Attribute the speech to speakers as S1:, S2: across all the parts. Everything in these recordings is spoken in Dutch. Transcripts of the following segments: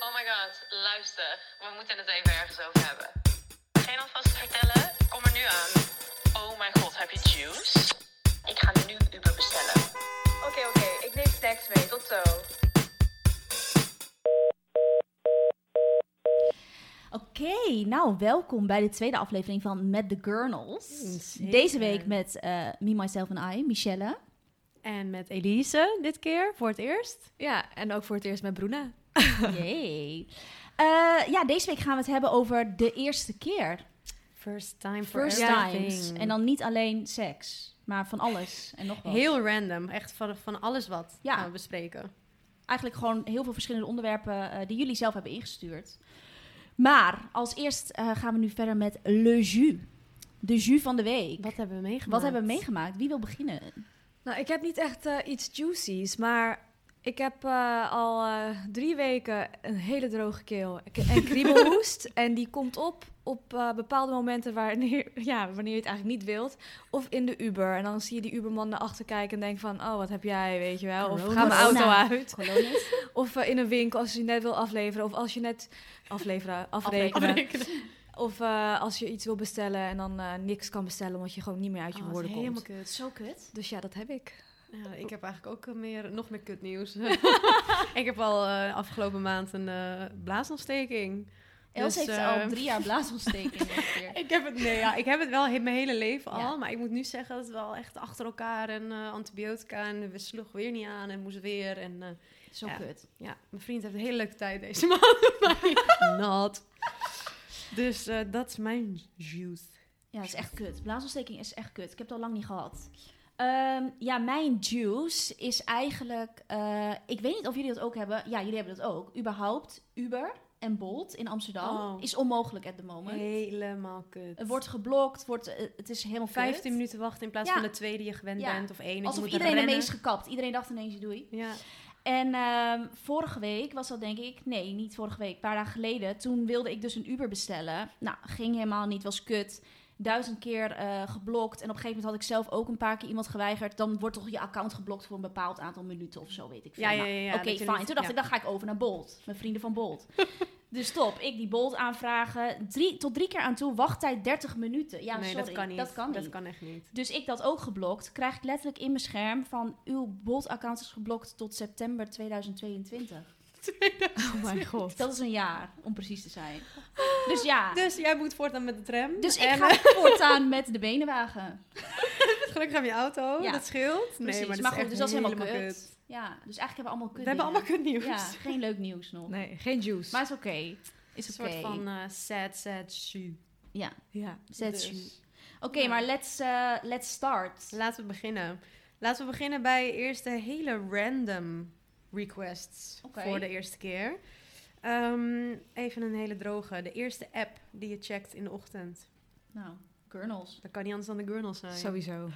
S1: Oh my god, luister. We moeten het even ergens over hebben. Geen alvast vertellen? Kom er nu aan. Oh my god, heb je juice? Ik ga nu Uber bestellen. Oké, oké. Ik neem snacks mee. Tot zo.
S2: Oké, nou welkom bij de tweede aflevering van Met de Gurnals.
S3: Oh,
S2: Deze week met eh, Me, Myself en I, Michelle.
S4: En met Elise dit keer, voor het eerst. Ja, en ook voor het eerst met Bruna.
S2: Yay. Eh, ja, deze week gaan we het hebben over de eerste keer.
S3: First time for
S2: First
S3: everything.
S2: times. En dan niet alleen seks, maar van alles en nog wat.
S3: Heel random. Echt van, van alles wat
S2: Ja.
S3: gaan we bespreken.
S2: Eigenlijk gewoon heel veel verschillende onderwerpen eh, die jullie zelf hebben ingestuurd. Maar als eerst eh, gaan we nu verder met Le Jus. De jus van de week.
S3: Wat hebben we meegemaakt?
S2: Wat hebben we meegemaakt? Wie wil beginnen?
S4: Nou, ik heb niet echt eh, iets juicies, maar ik heb eh, al eh, drie weken een hele droge keel en- en kriebelhoest. en die komt op op eh, bepaalde momenten wanneer, ja, wanneer je het eigenlijk niet wilt. Of in de Uber. En dan zie je die Uberman naar achter kijken en denkt van, oh, wat heb jij, weet je wel. Of ga mijn auto
S2: Corona.
S4: uit.
S2: Colonies?
S4: Of eh, in een winkel als je net wil afleveren. Of als je net afleveren, afrekenen. Of eh, als je iets wil bestellen en dan eh, niks kan bestellen omdat je gewoon niet meer uit je
S3: Oh, dat
S4: woorden
S3: is
S4: komt.
S3: helemaal kut. Zo kut.
S4: Dus ja, dat heb ik.
S3: Ja, ik heb eigenlijk ook eh, meer, nog meer kut nieuws. ik heb al eh, afgelopen maand een eh, blaasontsteking.
S2: Els
S3: Dus,
S2: heeft
S3: eh,
S2: al drie jaar blaasontsteking. ongeveer.
S3: Ik heb het, nee, ja, ik heb het wel he- mijn hele leven al.
S2: Ja.
S3: Maar ik moet nu zeggen dat het wel echt achter elkaar en eh, antibiotica. En we sloeg weer niet aan en moest weer. En eh,
S2: Zo
S3: Ja.
S2: kut.
S3: Ja, mijn vriend heeft een hele leuke tijd deze maand. maar Not. Dus eh, dat is mijn juice.
S2: Ja, het is echt kut. Blaasontsteking is echt kut. Ik heb het al lang niet gehad. Ehm, ja, mijn juice is eigenlijk... eh, ik weet niet of jullie dat ook hebben. Ja, jullie hebben dat ook. Überhaupt, Uber en Bolt in Amsterdam
S3: Oh.
S2: is onmogelijk at the moment.
S3: Helemaal kut.
S2: Het wordt geblokt, wordt, eh, het is helemaal kut.
S3: 15 minuten wachten in plaats
S2: Ja.
S3: van de twee die je gewend
S2: Ja.
S3: bent. Of één. Ik
S2: Alsof
S3: moet
S2: iedereen
S3: rennen.
S2: ermee is gekapt. Iedereen dacht ineens, doei.
S3: Ja.
S2: En ehm, vorige week was dat denk ik, nee, niet vorige week, een paar dagen geleden. Toen wilde ik dus een Uber bestellen. Nou, ging helemaal niet, was kut. Duizend keer eh, geblokt. En op een gegeven moment had ik zelf ook een paar keer iemand geweigerd. Dan wordt toch je account geblokt voor een bepaald aantal minuten of zo, weet ik veel.
S3: Ja, ja,
S2: Nou,
S3: ja, ja,
S2: Oké,
S3: dat je
S2: fijn.
S3: niet-
S2: Toen dacht
S3: ja.
S2: ik, dan ga ik over naar Bolt. Mijn vrienden van Bolt. dus top, ik die Bolt aanvragen. Drie, tot drie keer aan toe, wachttijd 30 minuten. Ja,
S3: nee,
S2: sorry,
S3: dat kan niet.
S2: Dat kan niet.
S3: echt niet.
S2: Dus ik dat ook geblokt. Krijg ik letterlijk in mijn scherm van uw Bolt-account is geblokt tot september 2022.
S4: Oh mijn god.
S2: Dat is een jaar, om precies te zijn. Dus ja.
S3: Dus jij moet voortaan met de tram.
S2: Dus ik
S3: en,
S2: ga voortaan met de benenwagen.
S3: eh, gelukkig heb je auto.
S2: Ja.
S3: Dat scheelt.
S2: Precies.
S3: Nee, maar,
S2: maar
S3: is
S2: goed,
S3: echt
S2: dus dat is helemaal kut. Ja, dus eigenlijk hebben we allemaal kut
S3: We hebben allemaal kut nieuws.
S2: Ja, geen leuk nieuws nog.
S4: Nee, geen juice.
S2: Maar is oké. Is
S3: Een
S2: oké.
S3: soort van eh, sad, sad shoe.
S2: Ja,
S4: ja.
S2: zet je.
S3: Dus.
S2: Oké, maar let's, eh, let's start.
S3: Laten we beginnen. Laten we beginnen bij eerst de hele random requests
S2: Oké.
S3: voor de eerste keer. Ehm, even een hele droge. De eerste app die je checkt in de ochtend.
S2: Nou, kernels.
S3: Dat kan niet anders dan de Gurnal zijn.
S4: Sowieso.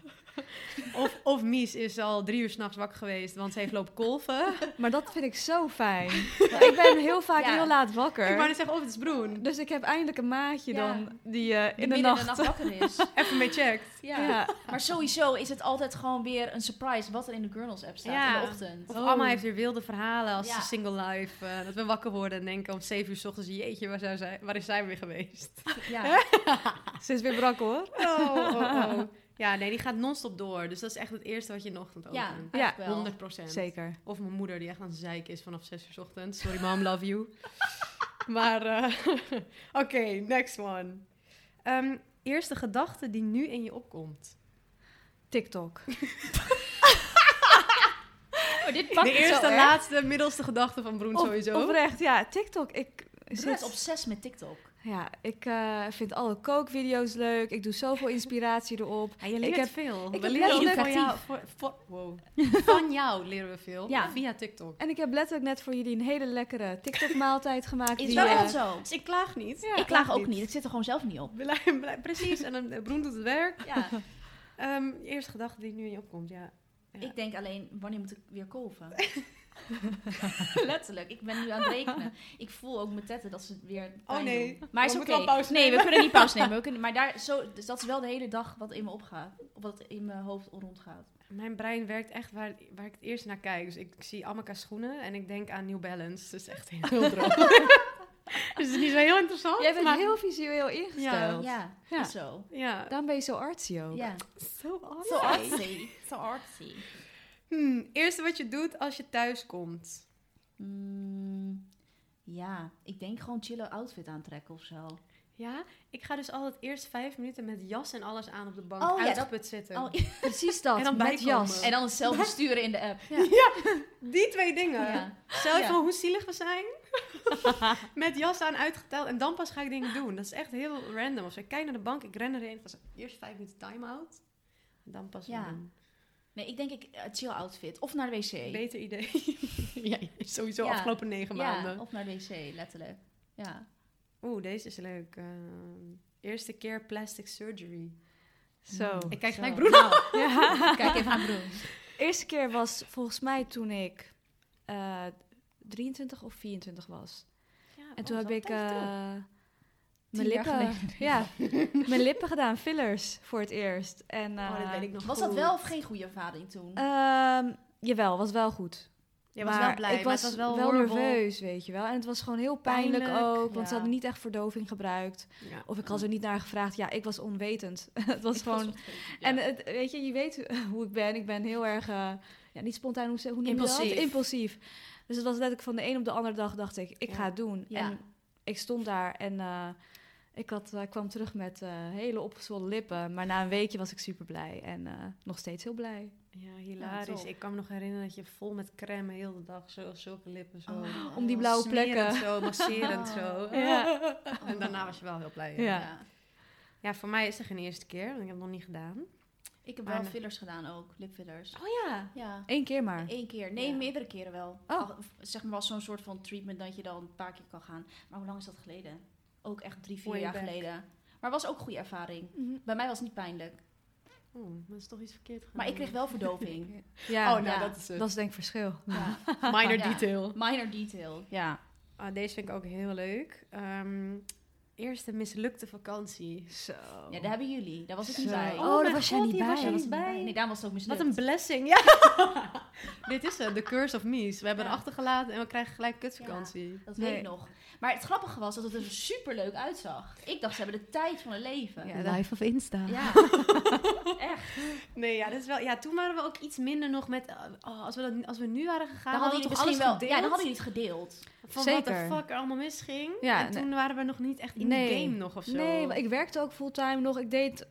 S3: Of, of Mies is al drie uur s'nachts wakker geweest, want ze heeft lopen kolven.
S4: Maar dat vind ik zo fijn. Want ik ben heel vaak
S2: Ja.
S4: heel laat
S3: Ik
S4: wakker.
S3: wou net zeggen, of het is Broen.
S4: Dus ik heb eindelijk een maatje
S2: Ja.
S4: dan die eh, in de,
S2: midden
S4: nacht...
S2: in de nacht wakker is.
S3: Even mee checkt.
S2: Ja.
S4: Ja.
S2: Maar sowieso is het altijd gewoon weer een surprise wat er in de Gurnals app staat
S3: Ja.
S2: in de ochtend.
S3: Of
S4: Oh.
S3: Amma heeft weer wilde verhalen als
S2: Ja.
S3: ze single life. eh, dat we wakker worden en denken om zeven uur s ochtends, jeetje, waar, zijn zij, waar is zij weer geweest?
S2: Ja.
S4: Ze is weer brak hoor.
S3: Oh, oh, oh. Ja, nee, die gaat non-stop door. Dus dat is echt het eerste wat je in de ochtend
S2: Ja,
S3: opent.
S2: eigenlijk wel.
S3: 100 procent.
S4: Zeker.
S3: Of mijn moeder die echt aan het zeiken is vanaf 6 uur 's ochtends. Sorry mom, love you. maar eh, oké, next one. Ehm, eerste gedachte die nu in je opkomt.
S4: TikTok.
S2: Oh, dit pakt
S3: de
S2: het
S3: eerste,
S2: zo erg.
S3: laatste, middelste gedachte van Broen
S4: Op-
S3: sowieso.
S4: Oprecht, ja. TikTok. Ik
S2: Broer is
S4: zit...
S2: obsessief met TikTok.
S4: Ja, ik eh, vind alle kookvideo's leuk. Ik doe zoveel inspiratie erop.
S3: Ja, je
S4: Ik heb-
S3: veel.
S4: ik
S3: we
S4: heb
S3: leren ook
S2: letterlijk-
S3: van jou, voor- voor- wow. van jou leren we veel.
S2: Ja.
S3: Via TikTok.
S4: En ik heb letterlijk net voor jullie een hele lekkere TikTok-maaltijd gemaakt.
S2: Is
S4: die,
S2: wel
S4: eh,
S2: echt zo.
S3: Dus ik klaag niet.
S2: ik klaag ook niet. Ik zit er gewoon zelf niet op.
S3: Blij- blij- Precies, en dan, eh, Broen doet het werk.
S2: Ja.
S3: Ehm, eerste gedachte die nu in je opkomt, ja. Ja.
S2: Ik denk alleen, wanneer moet ik weer kolven? Letterlijk, ik ben nu aan het rekenen. Ik voel ook mijn tetten dat ze het weer. pijn
S3: nee.
S2: doen. maar
S3: We
S2: is oké.
S3: moeten wel pauze
S2: Nee, Oh, we
S3: nemen.
S2: kunnen niet pauze nemen. We kunnen, maar daar, zo, dus dat is wel de hele dag wat in me opgaat. Of wat in mijn hoofd rondgaat.
S3: Mijn brein werkt echt waar, waar ik het eerst naar kijk. Dus ik zie Amaka schoenen en ik denk aan New Balance. Dus echt heel droog. dus het is niet zo heel interessant.
S4: Jij bent
S3: maar-
S4: heel visueel ingesteld.
S2: Ja,
S4: Ja.
S2: is zo.
S3: Ja.
S4: Daarom ben je zo artsy ook.
S2: Ja.
S3: Zo
S2: Zo artsy. Zo artsy.
S3: Hmm, eerste wat je doet als je thuis komt.
S2: Mm, ja, ik denk gewoon chille outfit aantrekken of zo.
S3: Ja, ik ga dus altijd eerst vijf minuten met jas en alles aan op de bank.
S2: Oh ja, dat-
S3: uitgeput zitten.
S2: Oh,
S4: Precies dat,
S3: En dan
S4: met
S3: bijkomen.
S4: jas.
S2: en dan het zelf besturen in de app. Ja.
S3: Die twee dingen.
S2: Ja.
S3: Zelf
S2: Ja.
S3: van hoe zielig we zijn. Met jas aan uitgeteld. En dan pas ga ik dingen doen. Dat is echt heel random. Of zo. Ik kijk naar de bank, ik ren erin. Ik was eerst vijf minuten time-out. En dan pas
S2: Ja.
S3: weer doen.
S2: Nee, ik denk ik eh, chill outfit. Of naar de wc.
S3: Beter idee. ja, sowieso
S2: Ja.
S3: afgelopen negen
S2: Ja,
S3: maanden.
S2: of naar de wc, letterlijk. Ja.
S3: Oeh, deze is leuk. Ehm, eerste keer plastic surgery. Hmm.
S4: Zo.
S3: Ik kijk
S2: Zo.
S3: gelijk broer.
S2: Nou,
S4: Ja.
S2: kijk even aan Broen.
S4: eerste keer was volgens mij toen ik eh, 23 of 24 was. En toen
S3: Oh,
S4: heb ik eh,
S2: Tien
S4: mijn
S2: jaar
S4: lippen, ja, mijn lippen gedaan, fillers voor het eerst. En,
S3: oh, dat
S4: eh,
S3: weet ik nog
S2: Was dat
S3: goed.
S2: wel of geen goede ervaring toen?
S4: ehm, jawel, was wel goed.
S3: Je was
S4: Maar
S3: wel blij,
S4: ik
S3: maar
S4: was,
S3: het was wel,
S4: wel
S3: horrible.
S4: nerveus, weet je wel. En het was gewoon heel pijnlijk,
S3: Pijnlijk,
S4: ook, want
S3: ja.
S4: ze hadden niet echt verdoving gebruikt.
S3: Ja.
S4: Of ik had er niet naar gevraagd. Ja, ik was onwetend. het was
S2: Ik
S4: gewoon...
S2: wat vreemd, ja.
S4: En het, weet je, je weet eh, hoe ik ben. Ik ben heel erg, eh, ja, niet spontaan, hoe, ze- hoe noem je
S3: Impulsief.
S4: dat? Impulsief. Dus het was letterlijk van de een op de andere dag dacht ik, ik
S3: Ja.
S4: ga het doen.
S2: Ja.
S4: En ik stond daar en eh, ik had, eh, kwam terug met eh, hele opgezwollen lippen. Maar na een weekje was ik super blij en eh, nog steeds heel blij.
S3: Ja, hilarisch.
S2: tof.
S3: ik kan me nog herinneren dat je vol met crème heel de dag, zo, zulke lippen, zo.
S2: Oh,
S4: om die blauwe
S3: Smerend
S4: plekken.
S3: Zo, masserend zo.
S4: Ja.
S3: En daarna was je wel heel blij. Ja.
S4: Ja.
S3: Ja, voor mij is het geen eerste keer, want ik heb het nog niet gedaan.
S2: Ik heb wel
S3: Maar-
S2: fillers gedaan ook, lipfillers.
S4: Oh ja.
S2: Ja. E-
S4: Eén keer maar.
S2: Eén keer. Nee,
S3: Ja.
S2: meerdere keren wel.
S4: Oh.
S2: Af- of Zeg maar, was zo'n soort van treatment dat je dan een paar keer kan gaan. Maar hoe lang is dat geleden? Ook echt drie, vier
S3: Way
S2: jaar
S3: back.
S2: geleden. Maar was ook goede ervaring.
S4: Mhm.
S2: Bij mij was het niet pijnlijk.
S3: Oh, dat is toch iets verkeerd gedaan.
S2: Maar ik kreeg wel verdoving.
S4: Ja,
S3: oh, nou,
S2: ja.
S3: dat is het.
S4: dat is denk ik verschil.
S2: ja.
S3: Minor
S2: Ja.
S3: detail.
S2: Minor detail. Ja.
S3: Ah, deze vind ik ook heel leuk. Ehm, eerste mislukte vakantie.
S4: Zo.
S3: Oh.
S2: Ja, daar hebben jullie. Daar was ik niet
S4: Zo.
S2: bij.
S4: Oh, daar
S3: mijn
S4: was jij niet
S3: die
S4: bij.
S3: was jij
S4: Daar
S2: was
S3: niet
S2: ik niet
S3: bij.
S2: Nee, daarom was het ook mislukt.
S3: Wat een blessing, ja. Dit is het, The Curse of Mies. We hebben
S2: Ja.
S3: het achtergelaten en we krijgen gelijk kutvakantie.
S2: Dat
S4: Nee.
S2: weet ik nog. Maar het grappige was dat het er superleuk uitzag. Ik dacht, ze hebben de tijd van hun leven. Ja.
S4: Live of Insta.
S2: Echt.
S3: Nee, ja, dat is wel, ja, toen waren we ook iets minder nog met... eh, oh, als, we dat, als we nu waren gegaan,
S2: Dan hadden
S3: hadden we
S2: jullie
S3: toch alles
S2: misschien wel.
S3: gedeeld?
S2: Ja, dan hadden jullie het gedeeld.
S3: Van wat
S4: Zeker.
S3: de fuck er allemaal misging.
S4: Ja,
S3: en toen waren we nog niet echt in de
S4: Nee.
S3: game nog of zo.
S4: Nee, maar ik werkte ook fulltime nog. Ik deed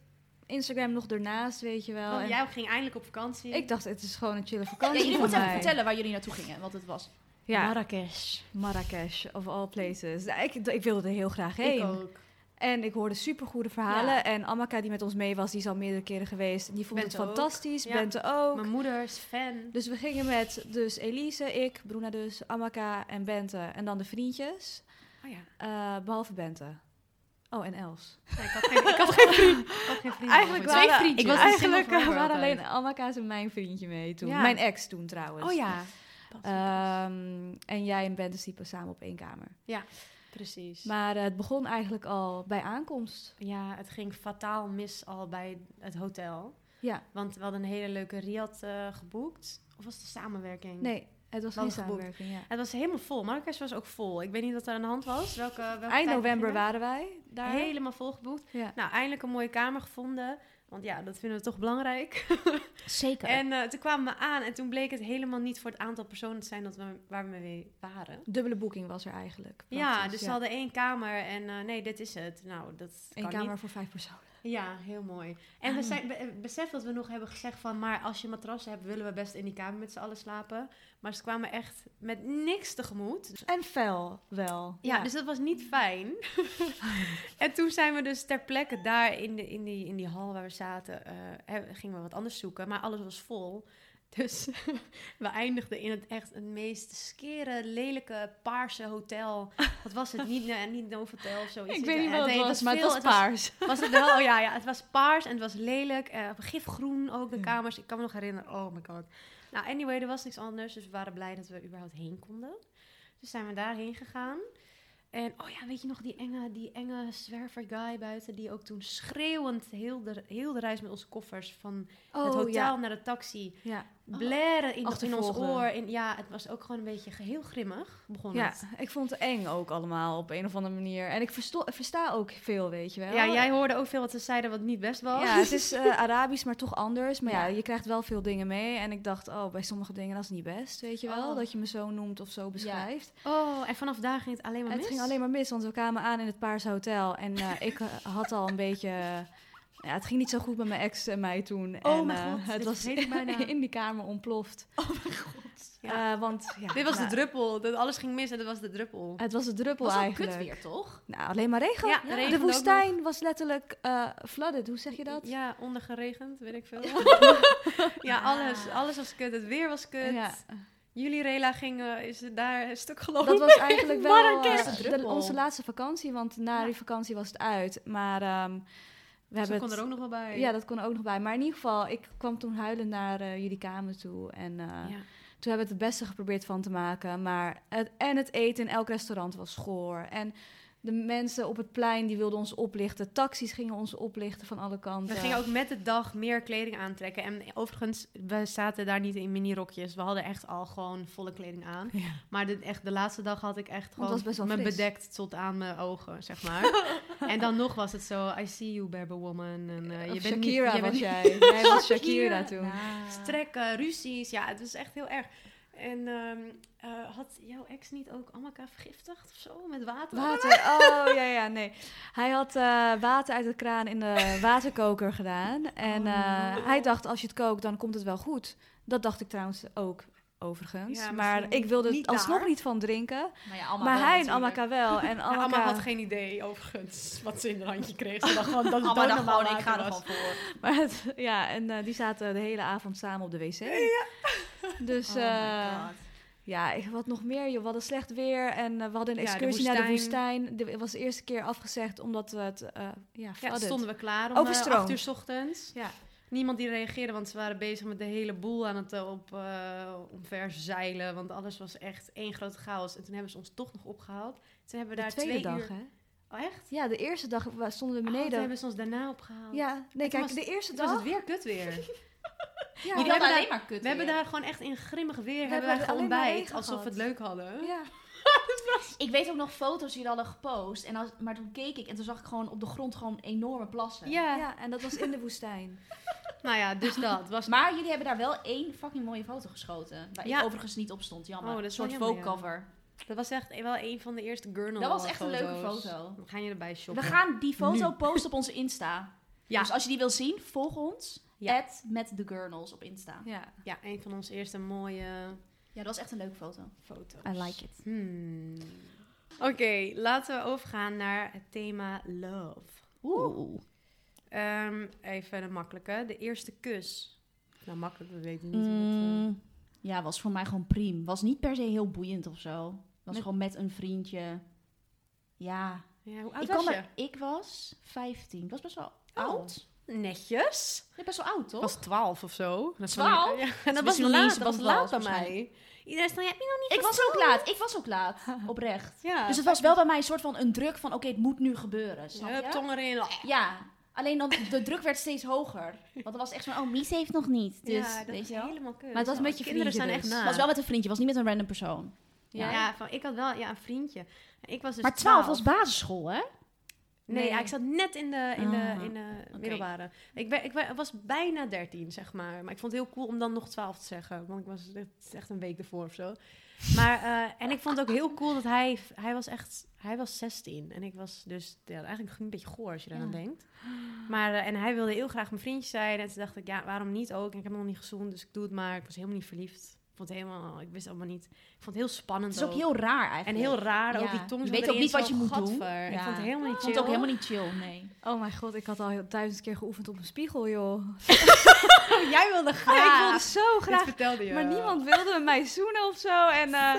S4: Instagram nog daarnaast, weet je wel.
S3: Want
S4: En-
S3: jij ging eindelijk op vakantie.
S4: Ik dacht, het is gewoon een chille
S2: Ja,
S4: vakantie.
S2: jullie
S4: voor
S2: moeten even
S4: mij.
S2: vertellen waar jullie naartoe gingen. Wat het was.
S4: Ja,
S3: Marrakesh.
S4: Marrakesh, of all places. Nou, Ik, ik wilde er heel graag
S3: Ik
S4: heen.
S3: ook.
S4: en ik hoorde supergoede verhalen.
S2: Ja.
S4: En Amaka, die met ons mee was, die is al meerdere keren geweest. En die vond
S3: Bente
S4: het
S3: ook.
S4: fantastisch.
S3: Ja.
S4: Bente ook.
S3: Mijn moeder is fan.
S4: Dus we gingen met dus Elise, ik, Bruna dus, Amaka en Bente. En dan de vriendjes.
S3: Oh ja.
S4: Eh, behalve Bente. Oh, en Els.
S3: Nee, ik, had geen, ik had geen vriend. Ik had geen vriend.
S4: Eigenlijk
S3: Twee
S4: waren-
S3: vriendjes. Ik was een single
S4: Eigenlijk eh,
S3: forever
S4: waren
S3: altijd.
S4: alleen Amaka's en mijn vriendje mee toen.
S3: Ja.
S4: Mijn ex toen trouwens.
S3: Oh ja.
S4: Ehm, en jij en Bente sliepen samen op één kamer.
S3: Precies.
S4: Maar eh, het begon eigenlijk al bij aankomst.
S3: ja, het ging fataal mis al bij het hotel.
S4: Ja.
S3: Want we hadden een hele leuke riad eh, geboekt. Of was het een samenwerking?
S4: Nee, het was
S3: Wel
S4: geen
S3: geboekt.
S4: samenwerking. Ja.
S3: Het was helemaal vol. Marrakesh was ook vol. Ik weet niet wat er aan de hand was. Welke, welke
S4: Eind
S3: tijd
S4: november
S3: beginnen.
S4: waren wij daar.
S3: Helemaal vol geboekt.
S4: Ja.
S3: Nou, eindelijk een mooie kamer gevonden. Want ja, dat vinden we toch belangrijk.
S2: Zeker.
S3: En eh, toen kwamen we aan en toen bleek het helemaal niet voor het aantal personen te zijn dat we, waar we mee waren.
S4: Dubbele boeking was er eigenlijk.
S3: Ja,
S4: praktisch,
S3: dus ze hadden één kamer en eh, nee, dit is het. Nou, dat
S4: Eén
S3: kan
S4: kamer Ah.
S3: niet.
S4: voor vijf personen.
S3: Ja, heel mooi. En we zijn, be- eh, besef dat we nog hebben gezegd van, maar als je matrassen hebt, willen we best in die kamer met z'n allen slapen. Maar ze kwamen echt met niks tegemoet.
S4: En fel wel.
S3: Ja, dus dat was niet fijn. en toen zijn we dus ter plekke daar in, de, in, die, in die hal waar we zaten, eh, he- gingen we wat anders zoeken. Maar alles was vol. Dus we eindigden in het echt het meest skere, lelijke, paarse hotel. Wat was het? Niet, eh, niet no hotel of zoiets.
S4: ik weet niet
S3: Eh,
S4: wat het
S3: nee,
S4: was, maar het
S3: veel-
S4: was paars.
S3: was het wel? Oh ja, ja, het was paars en het was lelijk. eh gifgroen ook, de kamers. Ik kan me nog herinneren. Oh my god. Nou, anyway, er was niks anders. Dus we waren blij dat we überhaupt heen konden. Dus zijn we daarheen gegaan. En oh ja, weet je nog die enge, die enge zwerver guy buiten... die ook toen schreeuwend heel de, heel de reis met onze koffers... van het hotel
S4: Oh, ja. Oh,
S3: naar de taxi...
S4: Ja.
S3: blaren in, in ons
S4: Achtervolgen.
S3: oor. En ja, het was ook gewoon een beetje geheel grimmig, begon
S4: ja,
S3: het.
S4: ik vond het eng ook allemaal op een of andere manier. En ik versto- versta ook veel, weet je wel.
S3: Ja, jij hoorde ook veel wat ze zeiden wat niet best was.
S4: Ja, het is eh, Arabisch, maar toch anders. Maar ja.
S3: Ja.
S4: je krijgt wel veel dingen mee. En ik dacht, oh, bij sommige dingen, dat is niet best, weet je wel.
S3: Oh.
S4: Dat je me zo noemt of zo beschrijft.
S3: Oh, en vanaf daar ging het alleen maar
S4: En het
S3: mis?
S4: ging alleen maar mis, want we kwamen aan in het Paarse Hotel. En eh, ik eh, had al een beetje... eh, ja, het ging niet zo goed met mijn ex en mij toen.
S3: Oh
S4: en,
S3: mijn
S4: eh,
S3: god,
S4: het
S3: dit
S4: was
S3: vergeet ik bijna.
S4: in die kamer ontploft. Oh mijn god. want, ja,
S3: Dit was
S4: nou,
S3: de druppel. Dat alles ging mis en dat was de druppel.
S4: Het was de druppel
S2: was ook
S4: eigenlijk.
S2: kut weer, toch?
S4: Nou, alleen maar regen.
S3: Ja, Ja. regende
S4: de
S3: ook
S4: woestijn was letterlijk eh flooded. Hoe zeg je dat?
S3: Ja, ondergeregend, weet ik veel. Ja, alles, alles was kut. Het weer was kut.
S4: Ja.
S3: Jullie rela ging, eh, is het daar een stuk gelopen.
S4: Dat was eigenlijk wel
S3: Marrakesh.
S4: eh,
S3: De
S4: de-
S3: druppel.
S4: onze laatste vakantie, want na die vakantie was het uit. Maar ehm, we
S3: Ze
S4: hebben
S3: Dus kon
S4: het-
S3: er ook nog wel bij.
S4: Ja, dat kon er ook nog bij. Maar in ieder geval, ik kwam toen huilend naar eh, jullie kamer toe. En eh,
S3: Ja.
S4: toen hebben we het beste geprobeerd van te maken. Maar het, en het eten in elk restaurant was goor. En de mensen op het plein die wilden ons oplichten. Taxis gingen ons oplichten van alle kanten.
S3: We gingen ook met de dag meer kleding aantrekken. En overigens, we zaten daar niet in minirokjes. We hadden echt al gewoon volle kleding aan.
S4: Ja.
S3: Maar de, echt, de laatste dag had ik echt
S4: het
S3: gewoon
S4: was best wel
S3: me
S4: fris.
S3: bedekt tot aan mijn ogen, zeg maar. en dan nog was het zo, I see you, Berber woman. En, eh,
S4: Of
S3: je bent niet-
S4: Shakira
S3: je
S4: was
S3: bent
S4: jij. Jij was Shakira
S3: Shakira.
S4: toen.
S3: Strekken, ruzies. Ja, het was echt heel erg. En ehm, eh, had jouw ex niet ook Amaka vergiftigd of zo met water?
S4: Water, oh ja, ja, nee. Hij had eh, water uit de kraan in de waterkoker gedaan. En
S3: Oh,
S4: eh, hij dacht, als je het kookt, dan komt het wel goed. Dat dacht ik trouwens ook, overigens.
S3: Ja,
S4: maar
S3: misschien
S4: ik wilde
S3: niet
S4: het alsnog
S3: daar. Oh,
S4: niet van drinken.
S2: Maar, ja, Alma
S4: maar
S2: wel
S4: hij en
S2: natuurlijk.
S4: Amaka wel. En
S3: Ja,
S4: Amaka,
S3: Amma had geen idee, overigens, wat ze in haar handje kreeg. Ze dacht gewoon, dat het
S2: Alma
S3: dood
S2: dacht
S3: normaal
S2: gewoon, oh, ik ga
S3: water
S2: er
S3: was.
S2: gewoon voor.
S4: maar het- ja, en eh, die zaten de hele avond samen op de wc. Dus
S2: Oh my
S4: eh,
S2: god.
S4: ja, ik had nog meer. Joh. We hadden slecht weer en eh, we hadden een
S3: Ja, de
S4: excursie naar de
S3: woestijn.
S4: woestijn. Dit was de eerste keer afgezegd omdat we het eh ja,
S3: Ja, toen
S4: flooded.
S3: stonden we klaar om eh,
S4: Overstroom.
S3: acht uur 's ochtends.
S4: Ja.
S3: Niemand die reageerde, want ze waren bezig met de hele boel aan het eh, op, eh omverzeilen. Want alles was echt één grote chaos. En toen hebben ze ons toch nog opgehaald. Toen hebben we
S4: De
S3: daar
S4: tweede
S3: twee
S4: dag,
S3: uur...
S4: hè?
S3: Oh, echt?
S4: Ja, de eerste dag wa- stonden Ah, we
S3: Oh, toen
S4: beneden.
S3: hebben ze ons daarna opgehaald.
S4: ja, nee,
S3: En toen
S4: kijk,
S3: was-
S4: de eerste
S3: Toen was het
S4: dag.
S3: weer kut weer.
S4: Ja,
S3: We
S2: Jullie
S3: hebben
S2: hadden
S3: daar-
S2: alleen maar kut
S3: We hebben
S2: weer.
S3: daar gewoon echt in grimmig weer
S4: We
S3: hebben
S4: hebben
S3: wij gewoon
S4: alleen maar
S3: bij
S4: regen
S3: alsof
S4: gehad.
S3: we het leuk hadden.
S4: ja.
S2: Ik weet ook nog foto's die jullie hadden gepost. En als, maar toen keek ik en toen zag ik gewoon op de grond gewoon enorme plassen.
S3: Ja.
S4: ja, en dat was in de woestijn.
S3: Nou ja, dus dat was.
S2: Maar jullie hebben daar wel één fucking mooie foto geschoten. Waar
S3: Ja.
S2: ik overigens niet op stond, jammer.
S3: Oh, dat
S2: een
S3: is wel
S2: soort
S3: jammer, ja.
S2: vocover.
S3: Dat was echt wel een van de eerste gurnal.
S2: Dat was echt een leuke
S3: foto's.
S2: foto.
S3: We gaan je erbij
S2: We
S3: shoppen.
S2: gaan die foto posten op onze Insta.
S3: Ja.
S2: Dus als je die wil zien, volg ons.
S3: Ja.
S2: at met de Gurnals op Insta.
S4: Ja,
S3: Ja, een van onze eerste mooie
S2: Ja, dat was echt een leuke foto.
S3: foto's.
S4: I like it.
S3: Hmm. Oké, laten we overgaan naar het thema love.
S2: Oeh.
S3: Ehm, even een makkelijke. De eerste kus. Nou, makkelijk, we weten niet. hoe het,
S2: Mm, ja, was voor mij gewoon priem. Was niet per se heel boeiend of zo. Was
S3: Met-
S2: gewoon met een vriendje. Ja.
S3: eh, ja, hoe oud
S2: ik,
S3: was
S2: kwam
S3: je? Oh.
S2: er- ik was 15. Ik was best wel oud.
S3: Netjes.
S2: Ik best wel oud, toch?
S3: Ik was twaalf of zo. Dat vond ik-
S2: 12?
S3: Ja, En dat
S2: wist
S3: was
S2: nog niet
S3: laat,
S2: eens
S3: dat
S2: dat
S3: was
S2: het
S3: laat
S2: was,
S3: bij mij.
S2: waarschijnlijk.
S3: Iedereen zei, heb je nog niet
S2: Ik was ook laat. Ik was ook laat. Oprecht.
S3: Ja.
S2: Dus het was wel bij mij een soort van een druk van... Oké, het moet nu gebeuren. Snap
S3: Hup,
S2: je?
S3: tong erin.
S2: Ja. Alleen dan, de druk werd steeds hoger. Want er was echt zo'n... Oh, Mies heeft nog niet. Dus,
S3: ja, dat
S2: weet
S3: is
S2: je wel.
S3: helemaal kut.
S4: Maar het was
S3: Ja,
S4: met je
S3: Kinderen zijn
S4: vriendje
S3: echt
S4: dus.
S3: na.
S2: Het was wel met een vriendje. was niet met een random persoon.
S3: ja.
S2: Nou. Ja.
S3: van, ik had wel ja, een vriendje. Ik was dus
S2: maar 12 was basisschool, hè?
S3: Nee,
S4: Nee.
S3: ja, ik zat net in de, in
S5: Ah,
S3: de, in de middelbare. Ik, ben, ik ben- was bijna 13, zeg maar. Maar ik vond het heel cool om dan nog 12 te zeggen. Want ik was het is echt een week ervoor of zo. Maar, eh, en ik vond het ook heel cool dat hij... Hij was echt... Hij was 16. En ik was dus ja, eigenlijk een beetje goor als je daar aan
S2: Ja.
S3: denkt. Maar, eh, en hij wilde heel graag mijn vriendje zijn. En toen dacht ik, ja, waarom niet ook? En ik heb nog niet gezoend, dus ik doe het maar. Ik was helemaal niet verliefd. Ik vond het helemaal... Ik wist het allemaal niet. Ik vond het heel spannend
S2: Het is ook heel raar eigenlijk.
S3: en heel raar, ook
S2: Ja.
S3: die tong
S2: Je
S3: zo
S2: weet ook
S3: erin,
S2: niet wat
S3: zo,
S2: je moet doen.
S3: gadver. Ik
S2: Ja.
S3: vond het helemaal niet
S2: Ik vond
S3: chill.
S2: het ook helemaal niet chill, nee.
S4: Oh mijn god, ik had al heel duizend keer geoefend op een spiegel, joh.
S3: Jij wilde
S4: Oh,
S3: graag.
S4: ik wilde zo
S3: Dit
S4: graag.
S3: vertelde je.
S4: Maar niemand wilde met mij zoenen of zo. En, eh,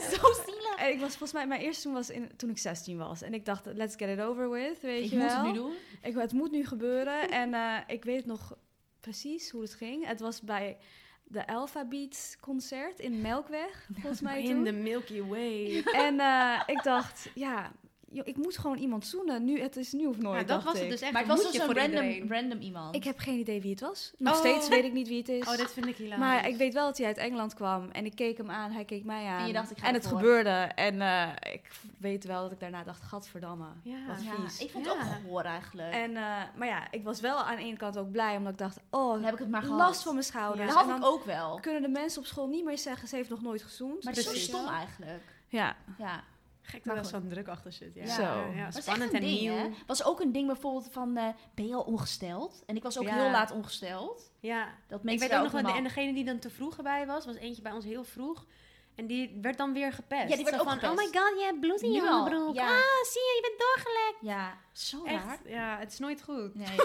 S2: Zo zielig.
S4: en ik was volgens mij, mijn eerste zoen was in, toen ik 16 was. En ik dacht, let's get it over with, weet
S2: Ik
S4: je
S2: moet
S4: wel.
S2: het nu doen.
S4: Ik, het moet nu gebeuren. En eh, ik weet nog precies hoe het ging. Het was bij de Alpha Beats concert in Melkweg, volgens mij toen.
S3: In de Milky Way.
S4: En eh, ik dacht, ja, joh, ik moet gewoon iemand zoenen. Nu, het is nu of nooit,
S3: Ja, dat
S4: dacht
S3: was
S4: ik.
S3: het dus echt.
S2: Maar het
S3: dat
S2: was
S3: moet
S2: dus
S3: je
S2: een
S3: voor
S2: random,
S3: iedereen.
S2: random iemand.
S4: Ik heb geen idee wie het was. Nog
S3: Oh.
S4: steeds weet ik niet wie het is.
S3: Oh, dat vind ik hilarisch.
S4: maar ik weet wel dat hij uit Engeland kwam. En ik keek hem aan, hij keek mij aan.
S2: En je dacht, ik ga
S4: En het
S2: ervoor.
S4: gebeurde. En eh, ik weet wel dat ik daarna dacht, gadverdamme.
S3: Ja.
S4: Wat
S2: ja,
S4: vies.
S2: ik vond
S3: Ja.
S2: het ook goor eigenlijk.
S4: En, eh, maar ja, ik was wel aan de ene kant ook blij. Omdat ik dacht, oh,
S2: dan heb ik het maar gehad.
S4: last van mijn schouders.
S2: Dat
S3: Ja.
S4: En
S2: had
S4: dan
S2: ik ook wel.
S4: kunnen de mensen op school niet meer zeggen, ze heeft nog nooit gezoend. Dus
S2: Maar het is zo
S3: Precies.
S2: stom eigenlijk.
S4: Ja,
S2: Ja.
S3: Gek
S2: Maar
S3: dat er
S2: goed.
S3: zo'n druk achter zit. Ja.
S2: Ja.
S4: Zo.
S3: Ja,
S4: Maar
S3: Ja,
S2: Maar het
S3: spannend
S2: is
S3: en
S2: echt een ding,
S3: nieuw.
S2: hè? was ook een ding bijvoorbeeld van, eh, ben je al ongesteld? En ik was ook
S3: Ja.
S2: heel laat ongesteld.
S3: Ja.
S2: Dat
S3: Ik
S2: mensen
S3: weet ook nog
S2: wel
S3: wel, en
S2: helemaal-
S3: degene die dan te vroeg bij was, was eentje bij ons heel vroeg. En die werd dan weer gepest.
S2: Ja, die werd
S3: Zo
S2: ook
S3: van,
S2: gepest.
S3: oh my god, jij hebt bloed in je
S2: Nu al,
S3: onderbroek.
S2: ja.
S3: Ah, zie je, je bent doorgelekt.
S2: Ja, zo raar.
S3: Echt, ja, het is nooit goed.
S2: Nee.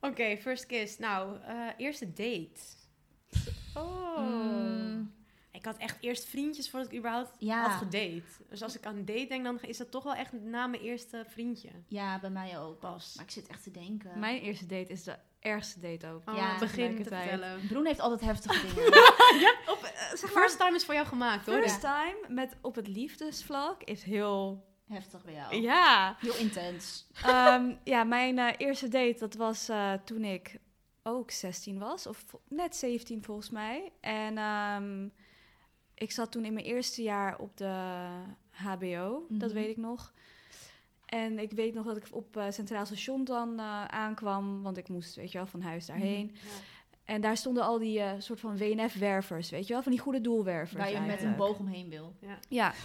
S3: Oké, first kiss. Nou, eh, eerste date. Oh.
S4: Hmm.
S2: Mm,
S3: Ik had echt eerst vriendjes voordat ik überhaupt
S2: Ja.
S3: had gedate. Dus als ik aan date denk, dan is dat toch wel echt na mijn eerste vriendje.
S2: ja, bij mij ook.
S3: Pas.
S2: Maar ik zit echt te denken.
S4: mijn eerste date is de ergste date ook.
S3: Oh,
S2: Ja,
S3: begin te
S4: tegelijkertijd.
S3: vertellen.
S2: Broen heeft altijd heftige dingen. Eh,
S3: First time is voor jou gemaakt, hoor.
S4: First time met op het liefdesvlak is heel...
S2: Heftig bij jou.
S4: Ja.
S2: Heel intens.
S4: Ehm, ja, mijn eh, eerste date, dat was eh, toen ik ook 16 was. Of vo- net 17 volgens mij. En ehm, ik zat toen in mijn eerste jaar op de HBO. Dat
S2: Mhm.
S4: weet ik nog. En ik weet nog dat ik op eh, Centraal Station dan eh, aankwam. Want ik moest, weet je wel, van huis
S2: Mhm,
S4: daarheen. En daar stonden al die eh, soort van WNF-wervers, weet je wel? Van die goede doelwervers
S2: Waar je met een
S4: eigenlijk.
S2: boog omheen wil.
S4: Ja.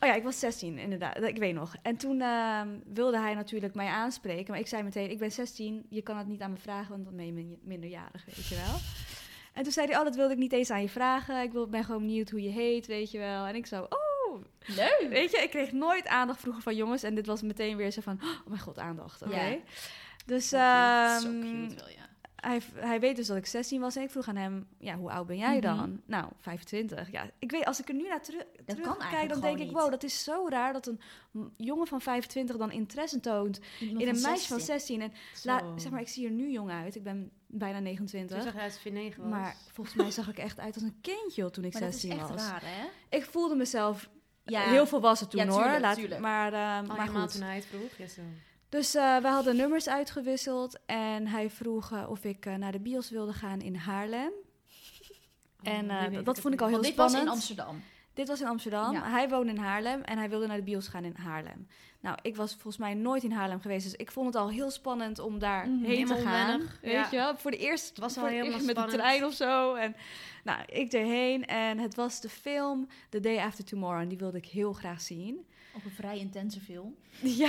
S4: Oh ja, ik was 16, inderdaad. Ik weet nog. En toen ehm, wilde hij natuurlijk mij aanspreken. Maar ik zei meteen, ik ben 16, je kan het niet aan me vragen, want dan ben je min- minderjarig, weet je wel. En toen zei hij, oh, dat wilde ik niet eens aan je vragen. Ik wil- ben gewoon benieuwd hoe je heet, weet je wel. En ik zo, oh,
S2: Leuk!
S4: weet je, ik kreeg nooit aandacht vroeger van jongens. En dit was meteen weer zo van, oh mijn god, aandacht, oké.
S2: Ja.
S4: Dus
S2: Zo
S4: ehm,
S2: cute wel, ja.
S4: hij, hij weet dus dat ik 16 was en ik vroeg aan hem, ja, hoe oud ben jij dan?
S2: Mhm.
S4: Nou, 25. Ja, ik weet, als ik er nu naar teru
S2: kan
S4: terugkijk,
S2: eigenlijk
S4: dan denk
S2: gewoon
S4: ik,
S2: niet.
S4: wow, dat is zo raar dat een m- jongen van 25 dan interesse toont in een meisje van 16. En
S3: dus.
S4: la, zeg maar, ik zie er nu jong uit, ik ben bijna
S3: Toen
S4: 29.
S3: zag hij dat ze 4-9 was.
S4: Maar volgens mij zag ik echt uit als een kindje joh, toen ik
S2: Maar dat is
S4: 16
S2: echt
S4: was.
S2: raar, hè?
S4: Ik voelde mezelf
S2: Ja.
S4: heel volwassen toen
S2: Ja,
S4: hoor.
S2: tuurlijk,
S4: Laat,
S2: tuurlijk.
S4: Maar, ehm,
S3: Oh,
S4: maar
S3: helemaal
S4: goed.
S3: toen hij het vroeg. Ja, zo.
S4: Dus eh we hadden nummers uitgewisseld en hij vroeg eh, of ik eh, naar de bios wilde gaan in Haarlem. En
S3: nu
S4: eh,
S3: weet
S4: dat-
S3: ik
S4: dat
S3: het
S4: vond ik al
S3: weer.
S4: heel
S2: Want dit was
S4: spannend.
S2: in Amsterdam.
S4: Dit was in Amsterdam.
S2: Ja.
S4: Hij woonde in Haarlem en hij wilde naar de bios gaan in Haarlem. Nou, ik was volgens mij nooit in Haarlem geweest, dus ik vond het al heel spannend om daar
S2: Mhm.
S4: heen te
S3: Helemaal
S4: gaan.
S3: onwennig,
S4: Weet
S3: ja.
S4: je wel? Voor de eerst
S3: Het was
S4: voor
S3: al
S4: het eerst
S3: helemaal
S4: met de
S3: spannend.
S4: trein of zo. En, nou, ik erheen en het was de film The Day After Tomorrow en die wilde ik heel graag zien.
S2: Ook een vrij intense film.
S4: Ja,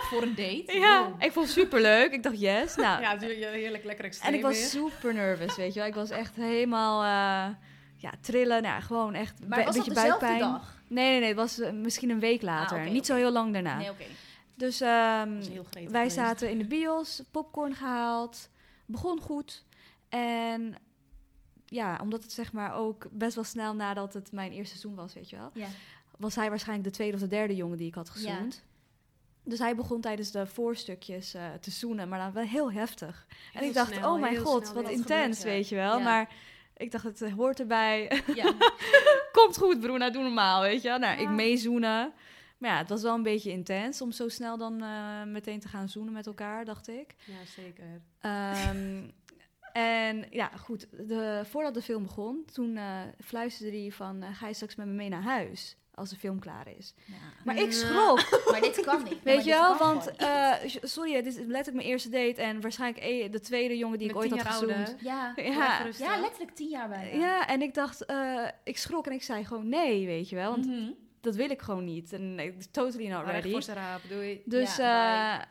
S2: Voor een date.
S4: ja. ik vond het superleuk. Ik dacht yes. Nou,
S3: Ja, natuurlijk, ja, heerlijk lekker extreem
S4: En ik was
S3: weer.
S4: super nervous, weet je wel. Ik was echt helemaal eh, ja, trillen. Nou, ja, gewoon echt
S2: Maar
S4: be-
S2: was dat
S4: een beetje
S2: dezelfde
S4: buikpijn.
S2: dag?
S4: Nee, nee, nee. Het was eh, misschien een week later.
S2: Ah, oké,
S4: Niet zo heel lang daarna.
S2: Nee, oké.
S4: Dus ehm,
S3: Dat was heel gretig
S4: wij
S3: geweest.
S4: zaten in de bios, popcorn gehaald. Begon goed. En ja, omdat het zeg maar ook best wel snel nadat het mijn eerste seizoen was, weet je wel
S2: Ja.
S4: was hij waarschijnlijk de tweede of de derde jongen die ik had gezoend. Dus hij begon tijdens de voorstukjes eh, te zoenen, maar dan wel heel heftig. en
S3: Heel
S4: ik dacht,
S3: snel,
S4: oh mijn
S3: heel
S4: god,
S3: snel
S4: wat
S3: dit.
S4: intens,
S2: gebeurt, ja.
S4: weet je wel.
S2: Ja.
S4: Maar ik dacht, het eh, hoort erbij.
S2: ja.
S4: Komt goed, Bruna, doe normaal, weet je wel. Nou, ik
S3: Ja.
S4: meezoenen. Maar ja, het was wel een beetje intens om zo snel dan eh, meteen te gaan zoenen met elkaar, dacht ik.
S3: Ja, zeker.
S4: Ehm, en ja, goed. De, voordat de film begon, toen eh, fluisterde hij van... eh, ga je straks met me mee naar huis? als de film klaar is.
S2: Ja.
S4: Maar
S3: Ja.
S4: ik schrok.
S2: Maar dit kan niet. Nee, maar
S4: Weet
S2: dit
S4: je wel,
S2: kan
S4: want
S2: gewoon.
S4: eh, j- sorry, dit is letterlijk mijn eerste date en waarschijnlijk eh, de tweede jongen die ik
S3: Met
S4: ooit had
S3: tien jaar
S4: gezoend.
S3: ouder.
S2: Ja.
S4: Ja.
S3: Even rustig.
S2: ja, letterlijk tien jaar bijna.
S4: Ja, en ik dacht, eh, ik schrok en ik zei gewoon nee, weet je wel, want
S2: Mhm.
S4: dat wil ik gewoon niet. En ik totally
S3: Maar
S4: not
S3: echt
S4: ready.
S3: voor zijn raap, doei.
S4: Dus
S2: Oh, Ja,
S4: eh,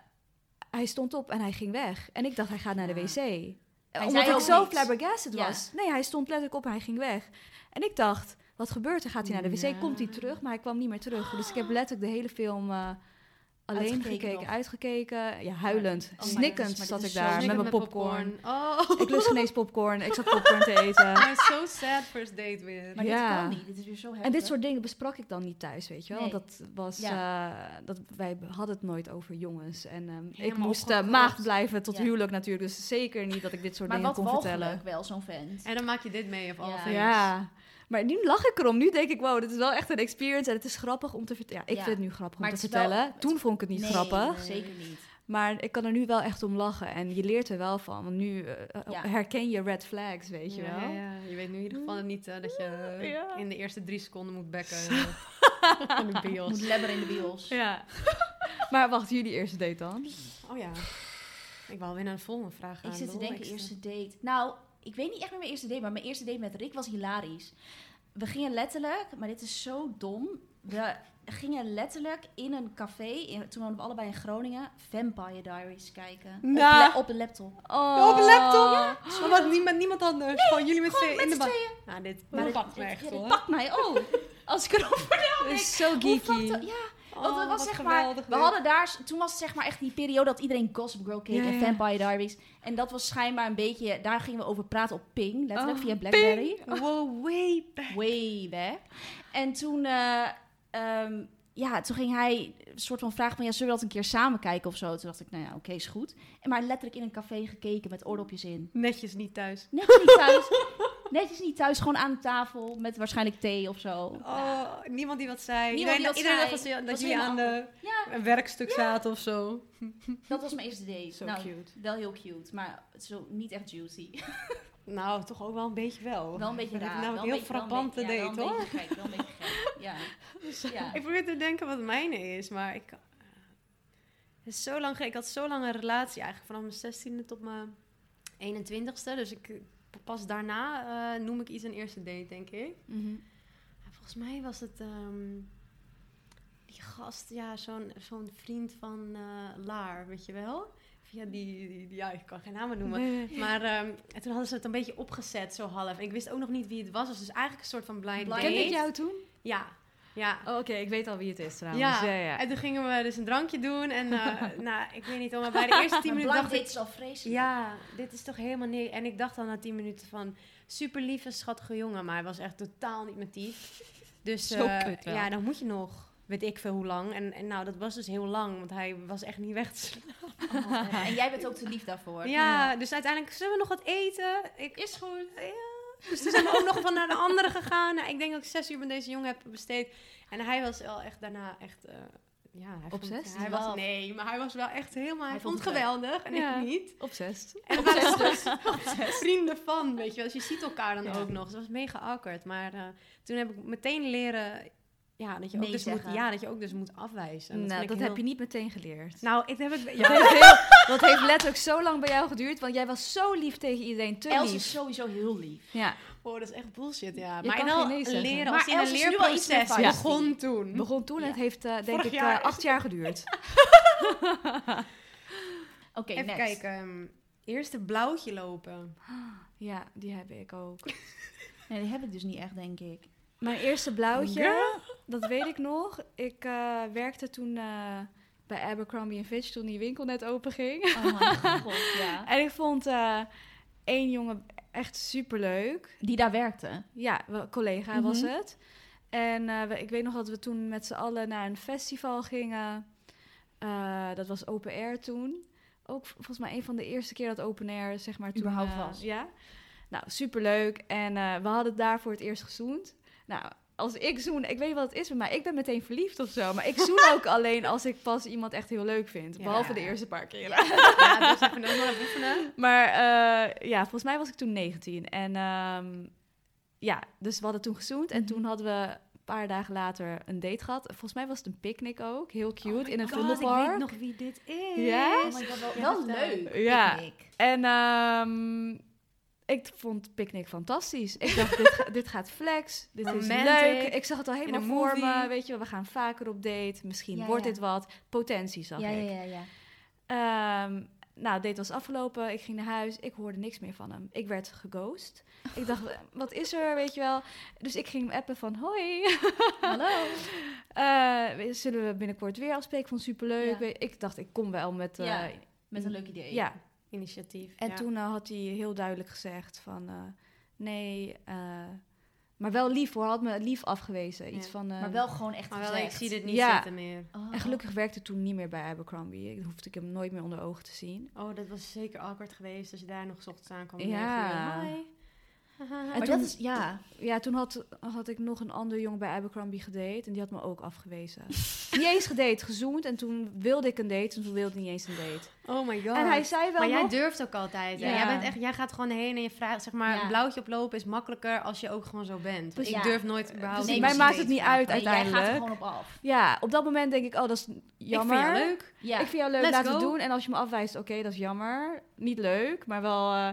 S4: hij stond op en hij ging weg. En ik dacht, hij gaat naar de
S3: Ja.
S4: wc.
S2: zei
S4: Omdat ik
S2: ook
S4: zo
S2: niks.
S4: flabbergasted
S2: Ja.
S4: was. Nee, hij stond letterlijk op en hij ging weg. En ik dacht, wat gebeurt er? Gaat hij naar de wc?
S3: Ja.
S4: Komt hij terug? Maar hij kwam niet meer terug. Dus ik heb letterlijk de hele film eh, alleen
S2: Uitgekeken
S4: gekeken,
S2: nog.
S4: uitgekeken. Ja, huilend,
S2: Oh my
S4: snikkend
S2: goodness, maar
S4: zat
S2: dit is
S4: ik
S2: zo
S4: daar met
S3: Snikken
S4: mijn popcorn.
S3: Oh,
S4: ik lust geen eens popcorn. Ik zat popcorn te eten.
S3: maar so sad first date weer.
S2: Maar
S4: Ja.
S2: dit kan niet. Dit is weer zo heftig.
S4: En dit soort dingen besprak ik dan niet thuis, weet je wel.
S2: Nee.
S4: Want dat was, eh, dat, wij hadden het nooit over jongens. En ehm, ik
S3: Helemaal
S4: moest eh,
S3: opgekropt.
S4: maagd blijven tot
S2: Ja.
S4: huwelijk natuurlijk. Dus zeker niet dat ik dit soort
S2: maar
S4: dingen
S2: wat
S4: kon vertellen.
S2: walgelijk wel, zo'n vent.
S3: En dan maak je dit mee of
S2: Ja.
S3: al
S4: Ja, maar nu lach ik erom. Nu denk ik, wow, dit is wel echt een experience. En het is grappig om te vertellen. Ja, ik
S2: Ja.
S4: vind het nu grappig om
S2: Maar
S4: te
S2: het is wel-
S4: vertellen. Toen vond ik het niet
S2: Nee,
S4: grappig.
S2: zeker niet.
S4: Maar ik kan er nu wel echt om lachen. En je leert er wel van. Want nu eh,
S2: Ja.
S4: herken je red flags, weet je
S3: ja,
S4: wel.
S3: ja, ja. Je weet nu in ieder geval niet eh, dat je eh,
S4: Ja.
S3: in de eerste drie seconden moet bekken. in de bios.
S2: Moet lebberen in de bios.
S4: Ja. maar wacht, jullie eerste date dan?
S3: Oh ja. Ik wil weer naar de volgende vraag gaan.
S2: Ik zit te
S3: lol,
S2: denken,
S3: extra.
S2: eerste date. Nou, ik weet niet echt meer mijn eerste date, maar mijn eerste date met Rick was hilarisch. We gingen letterlijk, maar dit is zo dom. We gingen letterlijk in een café, in, toen woonden we allebei in Groningen, Vampire Diaries kijken. Op
S3: Nou.
S2: la- Op, de laptop.
S4: Oh,
S3: Op een laptop? Maar wat, niemand, niemand anders? gewoon jullie met
S2: Gewoon
S3: tweeën
S2: met
S3: in de
S2: z'n
S3: bak.
S2: tweeën.
S3: Nou, dit
S2: Maar dit-
S3: pakt me
S2: dit-
S3: echt
S2: ja, dit
S3: hoor.
S2: pakt mij ook. Als ik erover
S4: Dat
S2: denk.
S4: is zo
S2: Hoe fucked
S4: geeky.
S2: up- Ja, want
S3: Oh,
S2: dat was
S3: wat
S2: zeg maar,
S3: geweldig
S2: we
S3: dit.
S2: hadden daar, toen was het zeg maar echt die periode dat iedereen Gossip Girl keek
S4: Ja,
S2: en
S4: ja.
S2: Vampire Diaries. En dat was schijnbaar een beetje, daar gingen we over praten op Ping, letterlijk
S4: Oh,
S2: via Blackberry.
S3: Wow, way back.
S2: way back. En toen, eh, ehm, ja, toen ging hij een soort van vragen van, ja, zullen we dat een keer samen kijken of zo? Toen dacht ik, nou ja, oké, is goed. En maar letterlijk in een café gekeken met oordopjes in.
S3: Netjes niet thuis.
S2: Netjes niet thuis. netjes niet thuis, gewoon aan de tafel met waarschijnlijk thee of zo.
S3: Oh, niemand die wat zei.
S2: Niemand
S3: iedereen
S2: die wat
S3: iedereen
S2: zei.
S3: dacht dat, ze- dat
S2: Was
S3: jullie aan
S2: helemaal
S3: de,
S2: Ja,
S3: een werkstuk zaten of zo.
S2: dat was mijn eerste date.
S4: Zo
S2: nou,
S4: cute.
S2: Wel heel cute, maar zo niet echt juicy.
S3: Nou, toch ook wel een beetje wel.
S2: Wel een beetje
S3: Ik vind
S2: raar.
S3: het
S2: wel
S3: namelijk
S2: een
S3: Oh. heel
S2: beetje- wel een
S3: frappante
S2: beetje- ja,
S3: date,
S2: wel een
S3: hoor.
S2: beetje gek, wel een beetje gek. Ja. Ja.
S3: Ik probeer te denken wat het mijne is, maar ik... Het is zo lang, ge- ik had zo lang een relatie eigenlijk, vanaf mijn 16e tot mijn 21ste. Dus ik, pas daarna eh, noem ik iets een eerste date, denk ik.
S4: Mhm.
S3: Ja, Volgens mij was het ehm, die gast, ja, zo'n zo'n vriend van eh, Laar, weet je wel? Via die, die, die- ja, ik kan geen namen noemen. Maar ehm, en toen hadden ze het een beetje opgezet, zo half. En ik wist ook nog niet wie het was, dus het is eigenlijk een soort van blind,
S2: Blind
S3: date.
S4: Kende ik jou toen?
S3: Ja, ja.
S4: Oh, Oké, ik weet al wie het is trouwens.
S3: Ja.
S4: Ja, ja.
S3: en toen gingen we dus een drankje doen. En eh, nou, ik weet niet, hoor, maar bij de eerste tien
S2: Maar
S3: minuten
S2: blind
S3: dacht ik...
S2: dates is al vreselijk.
S3: Ja, dit is toch helemaal niks. En ik dacht al na tien minuten van... Super lieve, schattige jongen. Maar hij was echt totaal niet mijn type. Dus
S4: Zo
S3: eh,
S4: kut wel.
S3: ja, dan moet je nog... Weet ik veel hoe lang. En, en nou, dat was dus heel lang. Want hij was echt niet weg te slaan.
S2: Oh, en jij bent ook te lief daarvoor.
S3: Ja, dus uiteindelijk... Zullen we nog wat eten? Ik, is goed. Ja. Dus toen zijn we ook nog van naar de andere gegaan. Nou, ik denk dat ik zes uur met deze jongen heb besteed. En hij was wel echt daarna echt... eh, ja, hij vond-
S4: Obsessed?
S3: Hij was,
S2: Love.
S3: nee, maar hij was wel echt helemaal... Hij,
S2: Hij
S3: vond
S2: vond
S3: het
S2: het leuk.
S3: geweldig en
S4: Ja.
S3: ik niet.
S4: Obsessed.
S3: En we waren dus vrienden van, weet je wel. Dus je ziet elkaar dan
S4: Ja.
S3: ook nog. Dus dat was mega awkward. Maar eh, toen heb ik meteen leren... Ja, dat je, ook
S2: Nee
S3: dus moet,
S2: zeggen.
S3: ja, dat je ook dus moet afwijzen. En
S4: Nou,
S3: vind
S4: dat
S3: ik
S4: heb
S3: heel-
S4: je niet meteen geleerd.
S3: Nou, ik heb ik...
S4: Dat
S3: Ja,
S4: heeft, heel- dat heeft letterlijk zo lang bij jou geduurd, want jij was zo lief tegen iedereen, te
S2: Els
S4: lief.
S2: is sowieso heel lief.
S4: Ja,
S3: oh, dat is echt bullshit, ja.
S4: Je
S3: maar
S4: kan
S3: en al
S4: geen nee zeggen.
S3: leren,
S2: Maar
S3: als in
S2: Els
S3: een
S2: is nu wel iets meer
S3: leerproces
S2: feisty.
S3: begon toen.
S4: begon toen en het heeft eh, denk
S3: Vorig
S4: ik eh,
S3: jaar is
S4: acht jaar geduurd.
S2: Oké,
S3: Even
S2: next.
S3: kijken. ehm, eerst een blauwtje lopen.
S4: Ja, die heb ik ook.
S2: Nee, die heb ik dus niet echt, denk ik.
S4: Mijn eerste blauwtje, dat weet ik nog. Ik eh, werkte toen eh, bij Abercrombie Fitch toen die winkel net open ging.
S2: Oh mijn god, ja.
S4: En ik vond eh, één jongen echt superleuk.
S2: Die daar werkte.
S4: Ja, wel- collega was
S2: Mhm.
S4: het. En eh, we- ik weet nog dat we toen met z'n allen naar een festival gingen. Eh, dat was open air toen. Ook v- volgens mij een van de eerste keer dat open air, zeg maar, toen...
S2: Überhaupt
S4: eh,
S2: was.
S4: Ja. Nou, superleuk. En eh, we hadden daar voor het eerst gezoend. Nou, als ik zoen, ik weet niet wat het is met mij. Ik ben meteen verliefd of zo. Maar ik zoen ook alleen als ik pas iemand echt heel leuk vind.
S3: Ja.
S4: Behalve de eerste paar keren.
S3: ja, dus even nog maar even oefenen.
S4: Maar eh, ja, volgens mij was ik toen 19. En ehm, ja, dus we hadden toen gezoend. En
S2: Mhm.
S4: toen hadden we paar dagen later een date gehad. Volgens mij was het een picknick ook. Heel cute, in een
S3: Oh God, ik weet
S4: Vondelpark.
S3: nog wie dit is.
S4: Ja?
S2: Oh my god, wel,
S3: Ja,
S2: wel
S3: vertel.
S2: leuk.
S4: Ja.
S2: picknick.
S4: En ehm, ik vond picknick fantastisch. Ik dacht, dit, ga- dit gaat flex. Dit
S3: Romantic.
S4: is leuk. Ik zag het al helemaal
S3: een
S4: voor me.
S3: movie.
S4: Weet je, wel, we gaan vaker op date. Misschien
S2: Ja,
S4: wordt
S2: ja.
S4: dit wat. Potentie zag
S2: Ja,
S4: ik.
S2: ja, ja, ja.
S4: Ehm, nou, date was afgelopen. Ik ging naar huis. Ik hoorde niks meer van hem. Ik werd geghost. Ik dacht, wat is er, weet je wel? Dus ik ging hem appen van, hoi.
S2: Hallo.
S4: Eh, we- zullen we binnenkort weer afspreken? Ik vond het superleuk.
S2: Ja.
S4: Ik dacht, ik kom wel met... eh,
S2: Ja, Met een leuk idee.
S4: ja,
S3: Initiatief.
S4: en
S3: ja.
S4: toen eh, had hij heel duidelijk gezegd van... eh, nee, eh, maar wel lief hoor. Hij had me lief afgewezen. Iets
S3: Ja.
S4: van... eh,
S2: Maar wel gewoon echt
S3: Maar wel, ik
S2: gezegd.
S3: zie dit niet
S4: Ja.
S3: zitten meer.
S2: Oh.
S4: En gelukkig werkte toen niet meer bij Abercrombie. Ik hoefde ik hem nooit meer onder ogen te zien.
S3: Oh, dat was zeker awkward geweest als je daar nog 's ochtends aan kwam.
S4: Ja.
S3: Hi.
S4: En
S2: Maar
S4: toen-
S2: dat is, ja.
S4: Ja, toen had, had ik nog een ander jongen bij Abercrombie gedate. En die had me ook afgewezen. niet eens gedate, gezoend. En toen wilde ik een date. En toen wilde ik niet eens een date.
S3: Oh my god.
S4: En hij zei wel
S3: maar jij
S4: nog-
S3: durft ook altijd. hè?
S4: Ja.
S3: Jij, bent echt, jij gaat gewoon heen en je vraagt, zeg maar,
S2: Ja.
S3: een blauwtje oplopen is makkelijker als je ook gewoon zo bent. Want
S2: Ja.
S3: Ik durf nooit überhaupt.
S4: Dus
S2: Nee,
S4: mij
S2: precies.
S4: maakt het niet uit
S2: Nee, Jij gaat er
S4: uiteindelijk.
S2: gewoon op af.
S4: Ja, op dat moment denk ik, oh, dat is jammer.
S3: Ik vind jou leuk.
S2: Ja.
S4: Ik vind jou leuk,
S3: Let's
S4: laten we het
S3: go.
S4: doen. En als je me afwijst, oké, dat is jammer. Niet leuk, maar wel... eh,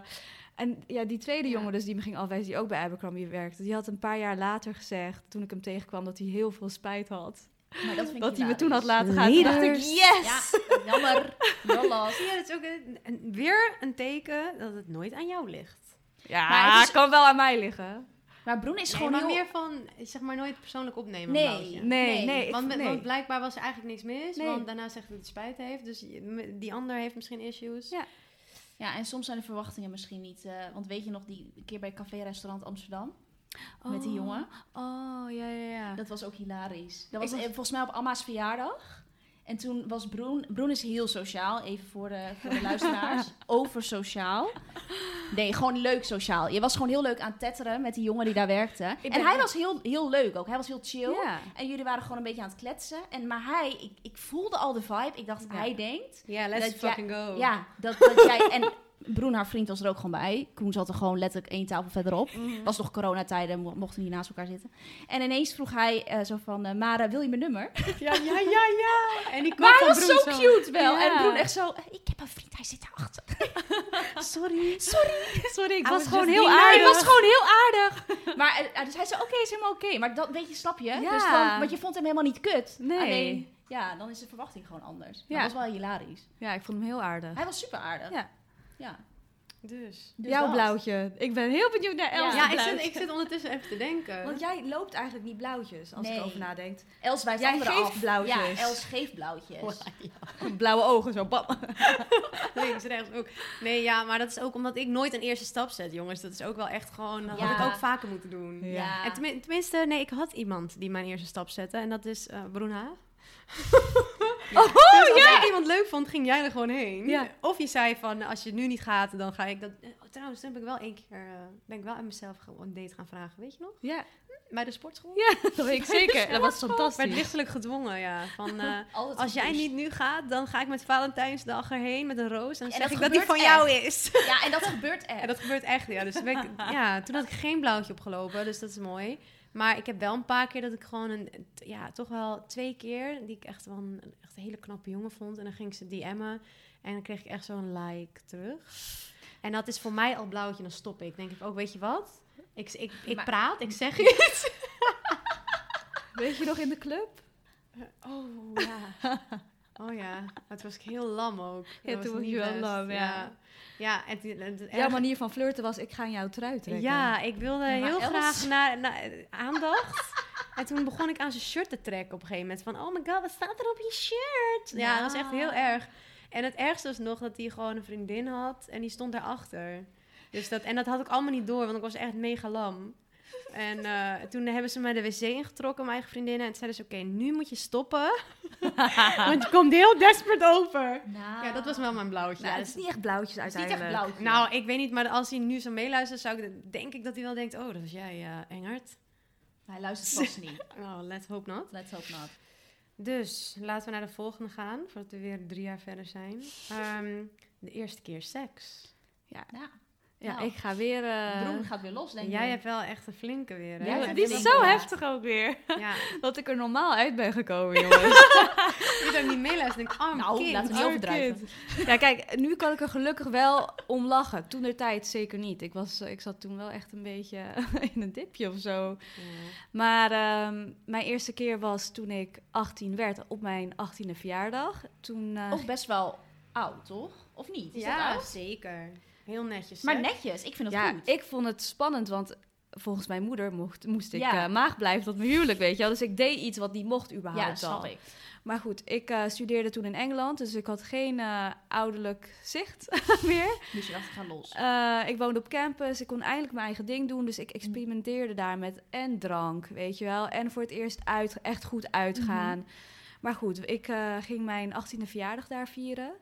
S4: En ja, die tweede
S3: Ja.
S4: jongen dus die me ging afwijzen, die ook bij Abercrombie werkte... die had een paar jaar later gezegd, toen ik hem tegenkwam... dat hij heel veel spijt had.
S2: maar dat vind ik
S4: Dat hij
S2: hilarisch.
S4: me toen had laten gaan. Toen dacht ik,
S3: Leaders.
S4: yes!
S2: Ja, jammer. Jollas.
S3: Zie je, dat is ook een- een- weer een teken dat het nooit aan jou ligt.
S4: Ja,
S2: Maar het is-
S4: kan wel aan mij liggen.
S2: Maar Broen is
S3: Nee,
S2: gewoon
S3: maar
S2: heel...
S3: meer van, zeg maar, nooit persoonlijk opnemen.
S2: Nee.
S3: een blauwtje.
S4: Nee,
S2: Nee,
S4: nee. ik-
S3: Want, met-
S4: nee.
S3: want blijkbaar was er eigenlijk niks mis.
S4: Nee.
S3: Want daarna zegt hij dat hij spijt heeft. Dus je- m- die ander heeft misschien issues.
S4: Ja.
S2: Ja, en soms zijn de verwachtingen misschien niet... eh, want weet je nog die keer bij Café Restaurant Amsterdam? Met die
S4: Oh,
S2: jongen?
S4: Oh, ja, ja, ja.
S2: Dat was ook hilarisch. Dat was,
S3: was-
S2: eh, volgens mij op Amma's verjaardag. En toen was Broen... Broen is heel sociaal, even voor de, voor de luisteraars. Over sociaal. Nee, gewoon leuk sociaal. Je was gewoon heel leuk aan het tetteren met die jongen die daar werkte.
S4: ben-
S2: En hij was heel, heel leuk ook. Hij was heel chill.
S4: Ja.
S2: En jullie waren gewoon een beetje aan het kletsen. En, maar hij, ik, ik voelde al de vibe. Ik dacht,
S3: Ja.
S2: hij denkt...
S3: Ja, let's
S2: Dat jij-
S3: fucking go.
S2: Ja, dat, dat jij... En Broen, haar vriend, was er ook gewoon bij. Koen zat er gewoon letterlijk één tafel verderop. Was nog coronatijden, mo- mochten niet naast elkaar zitten. En ineens vroeg hij eh, zo van... eh Mara, wil je mijn nummer?
S3: ja, ja, ja, ja. En ik
S2: Maar hij was zo cute wel.
S4: Ja.
S2: En Broen echt zo... eh, Ik heb een vriend, hij zit daarachter.
S3: Sorry.
S4: Sorry, ik
S3: I
S4: was dus
S3: was
S4: gewoon
S3: just
S4: heel
S3: being
S4: aardig.
S3: nice.
S2: Hij was gewoon heel aardig. Maar eh, dus hij zei, oké, is helemaal oké. Maar dat weet je, snap je?
S4: Ja.
S2: Dus dan, want je vond hem helemaal niet kut.
S4: Nee.
S2: Alleen, ja, dan is de verwachting gewoon anders. Maar
S4: Ja.
S2: Dat was wel hilarisch.
S4: Ja, ik vond hem heel aardig.
S2: Hij was super aardig.
S4: Ja.
S2: ja.
S3: Dus.
S2: Dus
S4: Jouw
S2: dat.
S4: blauwtje. Ik ben heel benieuwd naar Els.
S2: Ja,
S3: Ja, ik zit, ik zit ondertussen even te denken.
S4: Want jij loopt eigenlijk niet blauwtjes, als ik
S2: Nee.
S4: erover nadenk.
S2: Els wijst
S4: Jij
S2: anderen
S4: geeft
S2: af.
S4: blauwtjes.
S2: Ja, Els geeft blauwtjes.
S4: Blauwe ogen, zo bam.
S3: Links, rechts ook. Nee, ja, maar dat is ook omdat ik nooit een eerste stap zet, jongens. Dat is ook wel echt gewoon... Dat had
S2: Ja.
S3: ik ook vaker moeten doen.
S4: Ja.
S3: En tenmin- tenminste, nee, ik had iemand die mijn eerste stap zette. En dat is eh Bruna.
S4: Oh,
S3: Dus als ik iemand leuk vond, ging jij er gewoon heen.
S4: Ja.
S3: Of je zei van, als je nu niet gaat, dan ga ik dat... eh, oh, trouwens, toen heb ik wel één keer... eh, ben ik wel aan mezelf ge- een date gaan vragen, weet je nog?
S4: Ja,
S3: Bij de sportschool?
S4: ja, dat weet ik zeker. Dat was
S3: Werd
S4: fantastisch.
S3: lichtelijk gedwongen, ja. Van, eh,
S2: Altijd
S3: als jij
S2: gepusht.
S3: niet nu gaat, dan ga ik met Valentijnsdag erheen met een roos. En dan
S2: En dat
S3: zeg ik dat die van
S2: gebeurt
S3: jou is.
S2: Ja, en dat gebeurt echt.
S3: En dat gebeurt echt, ja. Dus toen ben ik- ja, toen had ik geen blauwtje opgelopen, dus dat is mooi. Maar ik heb wel een paar keer dat ik gewoon een, t- ja, toch wel twee keer, die ik echt wel een, een echt hele knappe jongen vond. En dan ging ik ze DM'en en dan kreeg ik echt zo'n like terug. En dat is voor mij al blauwtje, dan stop ik. Denk ik ook, weet je wat? Ik, ik, ik
S2: Maar-
S3: praat, ik
S4: Oh,
S3: zeg iets.
S4: Weet je nog in de club?
S3: Oh ja. Oh ja, maar toen was ik heel lam ook. Dat
S4: toen was
S3: niet
S4: je wel
S3: best.
S4: lam, ja.
S3: Ja, Ja, en, toen- en, toen-
S4: Jouw manier van flirten was, ik ga in jouw trui trekken.
S3: Ja, ik wilde
S2: Ja, maar
S3: heel
S2: Els-
S3: graag naar, naar aandacht. en toen begon ik aan zijn shirt te trekken op een gegeven moment. Van, oh my god, wat staat er op je shirt? Ja, dat was echt heel erg. En het ergste was nog dat hij gewoon een vriendin had en die stond daarachter. Dus dat, en dat had ik allemaal niet door, want ik was echt mega lam. En eh, toen hebben ze mij de wc ingetrokken, mijn eigen vriendinnen. En toen zeiden ze, oké, nu moet je stoppen. want je komt heel desperate over.
S2: Nou.
S3: Ja, dat was wel mijn blauwtje.
S4: Nou,
S3: Ja,
S4: het
S3: dus-
S4: is niet echt blauwtjes
S2: Het is niet echt
S4: uiteindelijk.
S2: blauw.
S3: nou, ik weet niet, maar als hij nu zo meeluistert, zou ik, denk ik dat hij wel denkt: Oh, dat was jij, eh, Engert.
S2: Hij luistert vast niet.
S3: Oh, let's hope not.
S2: Let's hope not.
S3: Dus laten we naar de volgende gaan, voordat we weer drie jaar verder zijn. Ehm, de eerste keer seks.
S2: Ja.
S4: Ja,
S2: Nou,
S4: ik ga weer... eh,
S2: Broen gaat weer los, denk ik.
S3: Jij hebt wel echt een flinke weer, hè?
S2: Ja,
S4: Ja,
S2: ja,
S4: die is
S2: flink,
S4: zo
S2: ja.
S4: heftig ook weer.
S3: Ja.
S4: Dat ik er normaal uit ben gekomen, jongens.
S3: Je dan niet meeluisteren. Denk, ik, oh,
S2: Nou,
S3: kind,
S2: laten we niet
S3: arm
S2: overdrijven.
S3: kind.
S4: ja, kijk, nu kan ik er gelukkig wel om lachen. Toen de tijd zeker niet. Ik, was, eh, ik zat toen wel echt een beetje in een dipje of zo. Maar ehm, mijn eerste keer was toen ik 18 werd, op mijn 18e verjaardag. Toen, eh,
S2: Of best wel oud, toch? Of niet? Is dat
S3: Ja,
S2: oud?
S3: zeker. Heel netjes.
S2: Maar
S3: hè?
S2: netjes, ik vind het
S4: ja,
S2: goed.
S4: ik vond het spannend, want volgens mijn moeder mocht, moest ik
S2: Ja.
S4: eh, maag blijven tot mijn huwelijk, weet je wel. Dus ik deed iets wat niet mocht überhaupt
S2: ja, snap
S4: al.
S2: ik.
S4: Maar goed, ik eh, studeerde toen in Engeland, dus ik had geen eh, ouderlijk zicht meer.
S2: Dus je dacht, ik ga los.
S4: Eh, ik woonde op campus, ik kon eindelijk mijn eigen ding doen. Dus ik experimenteerde daar met en drank, weet je wel. En voor het eerst uit, echt goed uitgaan. Maar goed, ik eh, ging mijn 18e verjaardag daar vieren.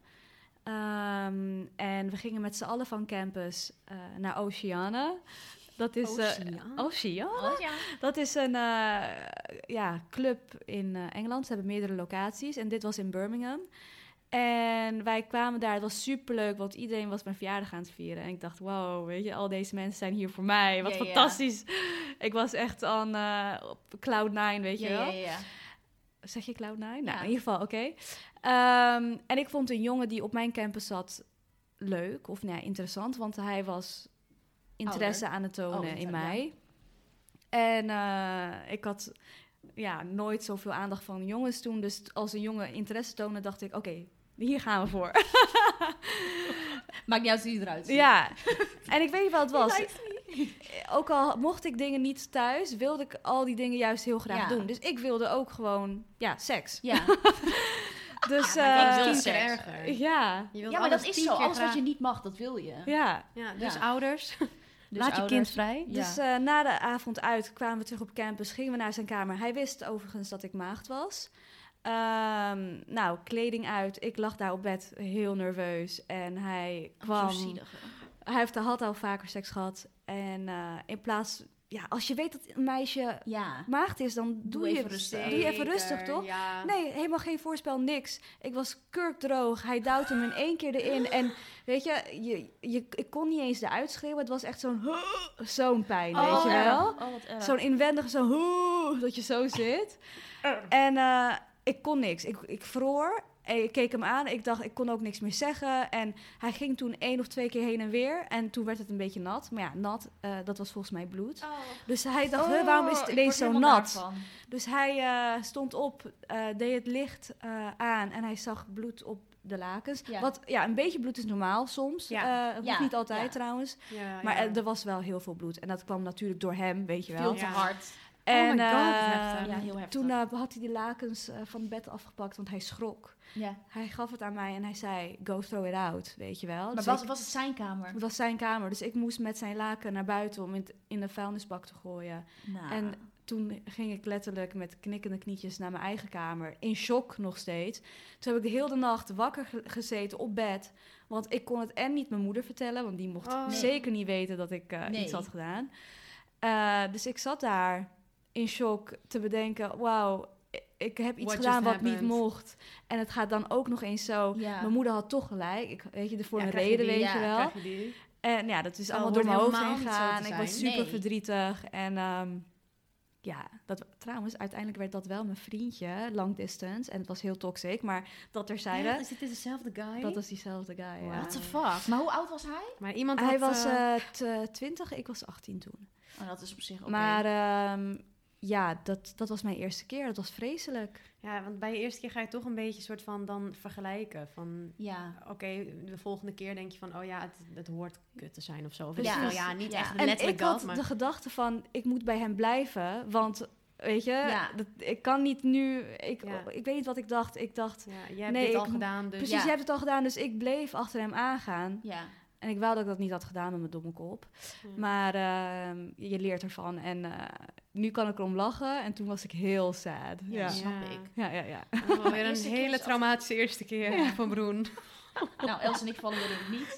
S4: Ehm, en we gingen met z'n allen van campus eh, naar Oceana. Dat
S3: Oh,
S4: is... eh,
S3: Oceana?
S4: Oceana?
S2: Dus, Oh, ja.
S4: Dat is een eh, ja, club in eh, Engeland. Ze hebben meerdere locaties. En dit was in Birmingham. En wij kwamen daar. Het was superleuk, want iedereen was mijn verjaardag aan het vieren. En ik dacht, wow, weet je, al deze mensen zijn hier voor mij. Wat
S2: Ja, ja.
S4: fantastisch. Ik was echt aan eh, op cloud nine, weet je
S2: Ja,
S4: wel.
S2: ja, ja.
S4: Zeg je cloud nine?
S2: Ja.
S4: Nou, in ieder geval, oké. Ehm, en ik vond een jongen die op mijn campus zat leuk. Of nou ja, interessant, want hij was interesse aan het tonen
S2: Ouder, Oh, ja.
S4: in mij. En eh, ik had ja, nooit zoveel aandacht van jongens toen. Dus t- als een jongen interesse toonde, dacht ik, oké, hier gaan we voor.
S2: Maakt niet uit hoe je eruit ziet.
S4: ja, en ik weet niet wat het was. Eh, Ook al mocht ik dingen niet thuis, wilde ik al die dingen juist heel graag
S2: Ja.
S4: doen. Dus ik wilde ook gewoon, ja, seks.
S2: Ja.
S4: Dus,
S3: Ja, maar
S4: eh,
S3: dat is
S2: eh,
S3: tien keer erger.
S4: ja,
S3: Je wilt
S2: ja, maar dat is
S3: alles tien
S2: zo.
S3: keer
S2: Alles wat
S3: graag.
S2: je niet mag, dat wil je.
S4: ja.
S3: Ja, dus
S2: Ja.
S3: ouders.
S2: Dus
S3: Laat je
S2: ouders-
S3: kind vrij.
S2: Ja.
S4: Dus eh, na de avond uit kwamen we terug op campus, gingen we naar zijn kamer. Hij wist overigens dat ik maagd was. Ehm, nou, kleding uit. Ik lag daar op bed heel nerveus. En hij kwam.
S2: Zo'n Oh, zielig.
S4: Hij heeft, had al vaker seks gehad. En eh, in plaats. Ja, als je weet dat een meisje
S2: Ja.
S4: maagd is, dan doe, je
S2: even
S4: het.
S2: rustig.
S4: Doe je even rustig, toch?
S3: Ja.
S4: Nee, helemaal geen voorspel, niks. Ik was kurkdroog. Hij duwt hem in één keer erin. En weet je, je, je ik kon niet eens eruit schreeuwen. Het was echt zo'n zo'n pijn, weet je wel?
S2: Oh, wat erg.
S4: Zo'n inwendige, zo'n hoe, dat je zo zit. En eh, ik kon niks. Ik, ik vroor. En ik keek hem aan. Ik dacht, ik kon ook niks meer zeggen. En hij ging toen één of twee keer heen en weer. En toen werd het een beetje nat. Maar ja, nat, eh, dat was volgens mij bloed.
S2: Oh.
S4: Dus hij dacht, "Huh, waarom is het ineens zo nat? Dus hij eh, stond op, eh, deed het licht eh, aan en hij zag bloed op de lakens.
S2: Ja.
S4: Wat, ja, een beetje bloed is normaal soms.
S3: Ja.
S4: Eh, het
S2: Ja,
S4: hoeft niet altijd
S2: ja.
S4: trouwens.
S3: Ja,
S4: Maar
S3: ja.
S4: eh, er was wel heel veel bloed. En dat kwam natuurlijk door hem, weet je
S2: Veel
S4: wel.
S2: te
S3: Ja.
S2: hard.
S4: En
S3: Oh my God, wat
S4: eh,
S3: heftig.
S2: Ja, heel heftig.
S4: toen eh, had hij de lakens eh, van het bed afgepakt, want hij schrok.
S2: ja.
S4: Hij gaf het aan mij en hij zei, go throw it out, weet je wel.
S2: Maar
S4: Dus
S2: was,
S4: ik-
S2: was het zijn kamer?
S4: het was zijn kamer, dus ik moest met zijn laken naar buiten om het in de vuilnisbak te gooien.
S2: Nou.
S3: Ah.
S4: En toen ging ik letterlijk met knikkende knietjes naar mijn eigen kamer. In shock nog steeds. Toen heb ik de hele nacht wakker ge- gezeten op bed. Want ik kon het en niet mijn moeder vertellen. Want die mocht
S3: Oh. Nee.
S4: zeker niet weten dat ik eh,
S2: Nee.
S4: iets had gedaan. Eh, dus ik zat daar in shock te bedenken... Wauw, i- ik heb iets
S3: What
S4: gedaan
S3: just
S4: wat
S3: happened?
S4: niet mocht. En het gaat dan ook nog eens zo...
S2: Ja.
S4: Mijn moeder had toch gelijk. Ik, weet je, er voor
S3: Ja,
S4: een
S3: krijg je
S4: reden,
S3: die,
S4: weet
S2: ja,
S4: je wel.
S3: Krijg je die?
S4: En ja, dat is
S3: Oh,
S4: allemaal door
S3: hoort
S4: mijn hoofd
S3: helemaal
S4: heen
S3: niet zo te
S4: gegaan. Ik was
S2: zijn.
S4: super
S2: Nee.
S4: verdrietig. En ehm, ja, dat, trouwens, uiteindelijk werd dat wel mijn vriendje, long distance. En het was heel toxic, maar dat terzijde,
S3: Is dit dezelfde guy?
S4: dat was diezelfde guy. Ja.
S2: What the fuck? Maar hoe oud was hij?
S3: Maar iemand
S4: Hij
S3: had,
S4: was
S3: eh,
S4: eh, t- eh, 20, ik was 18 toen.
S2: Oh, dat is op zich oké.
S4: Maar ehm, ja, dat, dat was mijn eerste keer. Dat was vreselijk.
S3: Ja, want bij je eerste keer ga je toch een beetje soort van dan vergelijken. Van, eh,
S2: Ja.
S3: oké, de volgende keer denk je van, oh ja, het, het hoort kut te zijn of zo. Of
S2: Precies.
S3: ja, ja, niet
S2: Ja.
S3: echt
S2: En
S4: En ik
S3: letterlijk
S4: had
S3: dat, maar...
S4: de gedachte van, ik moet bij hem blijven, want... Weet je,
S2: Ja.
S4: dat, ik kan niet nu. Ik,
S3: Ja.
S4: ik weet niet wat ik dacht. Ik dacht,
S3: Ja, jij hebt
S4: Nee,
S3: dit al
S4: ik-
S3: gedaan, dus...
S4: Precies,
S2: Ja.
S4: je hebt het al gedaan, dus ik bleef achter hem aangaan.
S2: Ja.
S4: En ik wou dat ik dat niet had gedaan met mijn domme kop.
S3: Ja.
S4: Maar ehm, je leert ervan. En eh, nu kan ik erom lachen. En toen was ik heel sad.
S2: Ja,
S4: Ja,
S2: dat snap
S3: Ja.
S2: ik.
S4: ja, ja. ja.
S3: Oh, weer een
S2: Eerste keer is
S3: hele
S2: altijd-
S3: traumatische eerste keer van Broen.
S2: Nou, Els en ik vallen weer in het niet.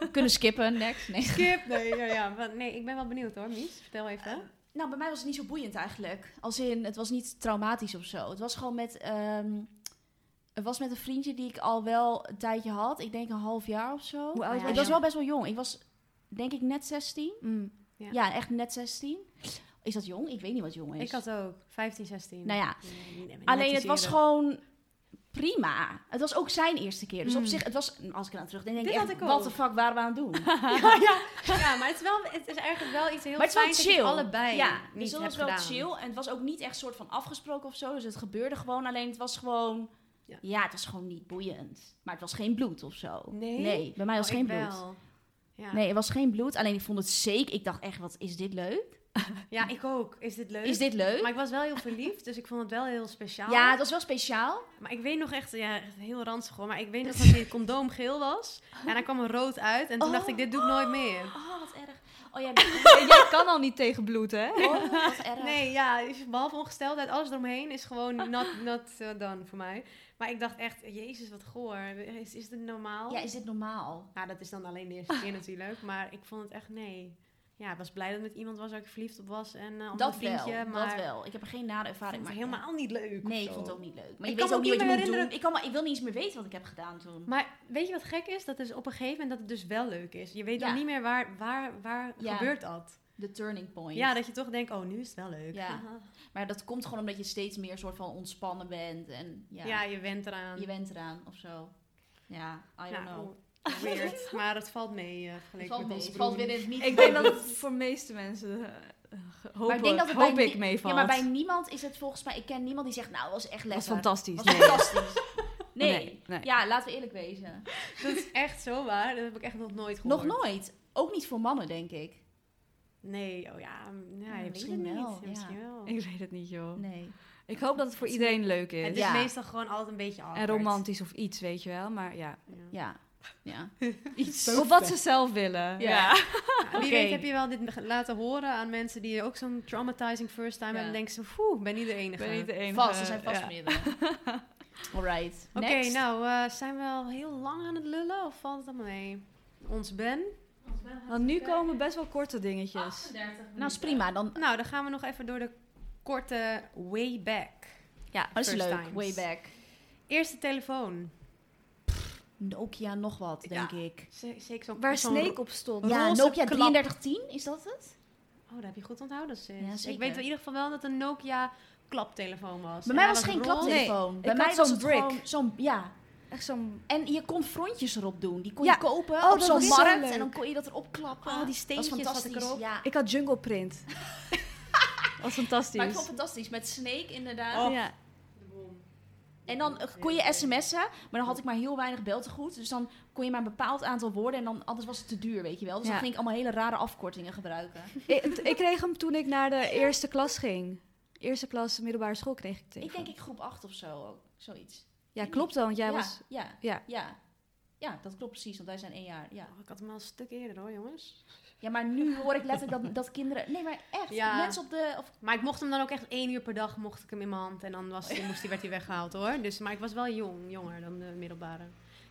S2: We kunnen skippen, next. Nee.
S3: Skip! Nee, ja, ja. want- nee, ik ben wel benieuwd hoor, Mies. Vertel even.
S2: Nou, bij mij was het niet zo boeiend eigenlijk. Als in, het was niet traumatisch of zo. Het was gewoon met, ehm, het was met een vriendje die ik al wel een tijdje had. Ik denk een half jaar of zo.
S4: Hoe oud
S3: Ja,
S2: ik
S4: was je?
S2: was wel best wel jong. Ik was denk ik net 16.
S4: Mm.
S3: Ja.
S2: Ja, echt net 16. Is dat jong? Ik weet niet wat jong is.
S3: Ik had ook 15, 16.
S2: Nou ja,
S3: Nee, nee,
S2: Alleen
S3: net
S2: het
S3: iets
S2: was
S3: eerder.
S2: gewoon prima. Het was ook zijn eerste keer. Dus op
S4: Mm.
S2: zich, het was, als ik er aan terugdenk, denk
S3: Dit
S2: ik
S3: had
S2: echt,
S3: ik ook.
S2: wat de fuck waren we aan het doen?
S3: ja, ja. ja, maar het is, wel, het is eigenlijk wel iets heel
S2: maar het was
S3: fijn
S2: wel
S3: dat je
S2: chill.
S3: allebei
S2: ja,
S3: niet
S2: dus dat
S3: hebt
S2: was wel
S3: gedaan.
S2: chill. En het was ook niet echt soort van afgesproken of zo. Dus het gebeurde gewoon. Alleen het was gewoon...
S3: Ja.
S2: Ja, het was gewoon niet boeiend. Maar het was geen bloed of zo.
S3: Nee?
S2: bij mij was
S3: Oh,
S2: geen
S3: ik
S2: bloed.
S3: wel. Ja.
S2: Nee, het was geen bloed. Alleen ik vond het zeker. Ik dacht echt, wat is dit leuk?
S3: ja, ik ook. Is dit leuk?
S2: Is dit leuk?
S3: Maar ik was wel heel verliefd, dus ik vond het wel heel speciaal.
S2: Ja, het was wel speciaal.
S3: Maar ik weet nog echt, ja, echt heel ranzig hoor. Maar ik weet nog dat die condoom geel was. En daar kwam een rood uit. En toen dacht ik, dit doe ik nooit meer.
S2: Oh, wat erg. Oh ja,
S4: Jij kan al niet tegen bloed, hè?
S2: oh, wat erg.
S3: Nee, ja, is- behalve ongesteldheid, alles eromheen is gewoon not, not eh, done voor mij. Maar ik dacht echt, jezus, wat goor. Is, is dit normaal?
S2: Ja, is dit normaal?
S3: Nou, dat is dan alleen de eerste keer natuurlijk. Maar ik vond het echt, nee. Ja, ik was blij dat het met iemand was waar ik verliefd op was. En eh op
S2: Dat
S3: een vriendje.
S2: wel,
S3: maar
S2: dat wel. Ik heb er geen nare
S3: Ik
S2: ervaring
S3: vond het
S2: mee.
S3: helemaal niet leuk. of
S2: Nee, ik
S3: zo.
S2: vond het ook niet leuk. Maar je
S3: Ik
S2: weet
S3: kan
S2: ook
S3: me
S2: niet
S3: ook
S2: wat je
S3: niet
S2: moet
S3: meer
S2: doen. Ik, kan, maar- ik wil niet eens meer weten wat ik heb gedaan toen.
S3: Maar weet je wat gek is? Dat is op een gegeven moment dat het dus wel leuk is. Je weet
S2: Ja.
S3: dan niet meer waar, waar, waar
S2: Ja.
S3: gebeurt dat.
S2: De turning point.
S3: Ja, dat je toch denkt, oh, nu is het wel leuk.
S2: Ja. Maar dat komt gewoon omdat je steeds meer soort van ontspannen bent. En ja,
S3: Ja, je went eraan.
S2: je bent eraan of zo. Ja, I don't know.
S3: oh, weird. maar het valt mee eh
S2: Het
S3: vergeleken
S2: valt,
S3: met
S2: mee.
S3: ons
S2: Het valt
S3: broer.
S2: weer in het niet.
S4: Ik denk dat het voor meeste mensen eh, hoop,
S2: maar ik denk dat het
S4: hoop
S2: bij
S4: ik
S2: nie-
S4: meevalt.
S2: Ja, maar bij niemand is het volgens mij... Ik ken niemand die zegt, nou, was echt
S4: Dat is
S2: lekker.
S4: fantastisch.
S2: Was
S4: nee.
S2: fantastisch. Nee.
S4: Nee, nee.
S2: Ja, laten we eerlijk wezen.
S3: Dat is echt zo waar. Dat heb ik echt nog nooit gehoord.
S2: Nog nooit. Ook niet voor mannen, denk ik.
S3: Nee, oh ja. mm, ja,
S2: Ja,
S3: je
S2: misschien
S3: weet het
S2: wel,
S3: niet.
S2: ja.
S3: Misschien wel.
S4: Ik weet het niet, joh.
S2: Nee.
S4: Ik hoop dat het voor iedereen leuk is.
S3: Het is
S2: Ja.
S3: meestal gewoon altijd een beetje af.
S4: En romantisch of iets, weet je wel. Maar ja,
S2: Ja. Ja.
S4: iets. Of wat ze zelf willen.
S3: Wie
S2: Oké.
S3: weet heb je wel dit laten horen aan mensen die ook zo'n traumatizing first time
S2: Ja.
S3: hebben. En denken ze, poeh, ben niet de enige.
S4: Ik ben niet de enige.
S2: Vast, er zijn vast
S4: Ja.
S2: meerdere. Alright.
S3: Oké,
S2: next.
S3: nou, eh, zijn we al heel lang aan het lullen of valt het allemaal mee? Ons Ben.
S4: Want nu komen best wel korte dingetjes.
S2: Nou, is prima. Dan,
S3: Nou, dan gaan we nog even door de korte way back.
S2: ja, dat is
S3: first
S2: leuk.
S3: times.
S2: Way back.
S3: Eerste telefoon.
S2: Nokia nog wat, denk ik.
S3: Z- Zeker zo'n
S4: Waar
S3: zo'n
S4: Snake op stond.
S2: Ja,
S3: Roze
S2: Nokia
S3: klap.
S2: 3310, is dat het?
S3: Oh, dat heb je goed onthouden, sis.
S2: Ja,
S3: ik
S2: zeker.
S3: weet in ieder geval wel dat een Nokia klaptelefoon was.
S2: Bij
S3: En
S2: mij
S3: hij
S2: was het geen
S3: roze.
S2: klaptelefoon.
S4: Nee,
S2: Bij
S4: ik
S2: mij
S4: had
S2: was
S4: zo'n
S2: het
S4: brick.
S2: gewoon zo'n... Ja.
S4: Echt zo'n...
S2: En je kon frontjes erop doen. Die kon
S4: Ja.
S2: je kopen
S4: Oh,
S2: op
S4: dat
S2: zo'n
S4: was zo
S2: markt.
S4: leuk.
S2: en dan kon je dat erop klappen.
S3: Oh, die
S2: Dat was
S3: steentjes zat
S2: fantastisch.
S3: erop.
S2: Ja.
S4: Ik had Jungle Print. Dat was fantastisch.
S2: Maar ik vond het fantastisch. Met Snake inderdaad.
S3: Oh.
S4: Ja.
S2: En dan eh, kon je sms'en, maar dan had ik maar heel weinig beltegoed. Dus dan kon je maar een bepaald aantal woorden en dan, anders was het te duur, weet je wel. Dus
S4: Ja.
S2: dan ging ik allemaal hele rare afkortingen gebruiken.
S4: ik, ik kreeg hem toen ik naar de eerste klas ging. Eerste klas middelbare school kreeg ik tegen.
S2: Ik denk ik groep 8 of zo, ook, zoiets.
S4: Ja, klopt dan. want Jij
S2: ja,
S4: was...
S2: ja,
S4: Ja.
S2: ja, ja. dat klopt precies, want wij zijn één jaar. Ja,
S3: Oh, ik had hem al een stuk eerder hoor, jongens.
S2: ja maar nu hoor ik letterlijk dat, dat kinderen... Nee, maar echt,
S3: Ja.
S2: mensen op de... Of,
S3: Maar ik mocht hem dan ook echt één uur per dag mocht ik hem in mijn hand. En dan was, moest hij, werd hij weggehaald hoor. Dus, maar ik was wel jong, jonger dan de middelbare.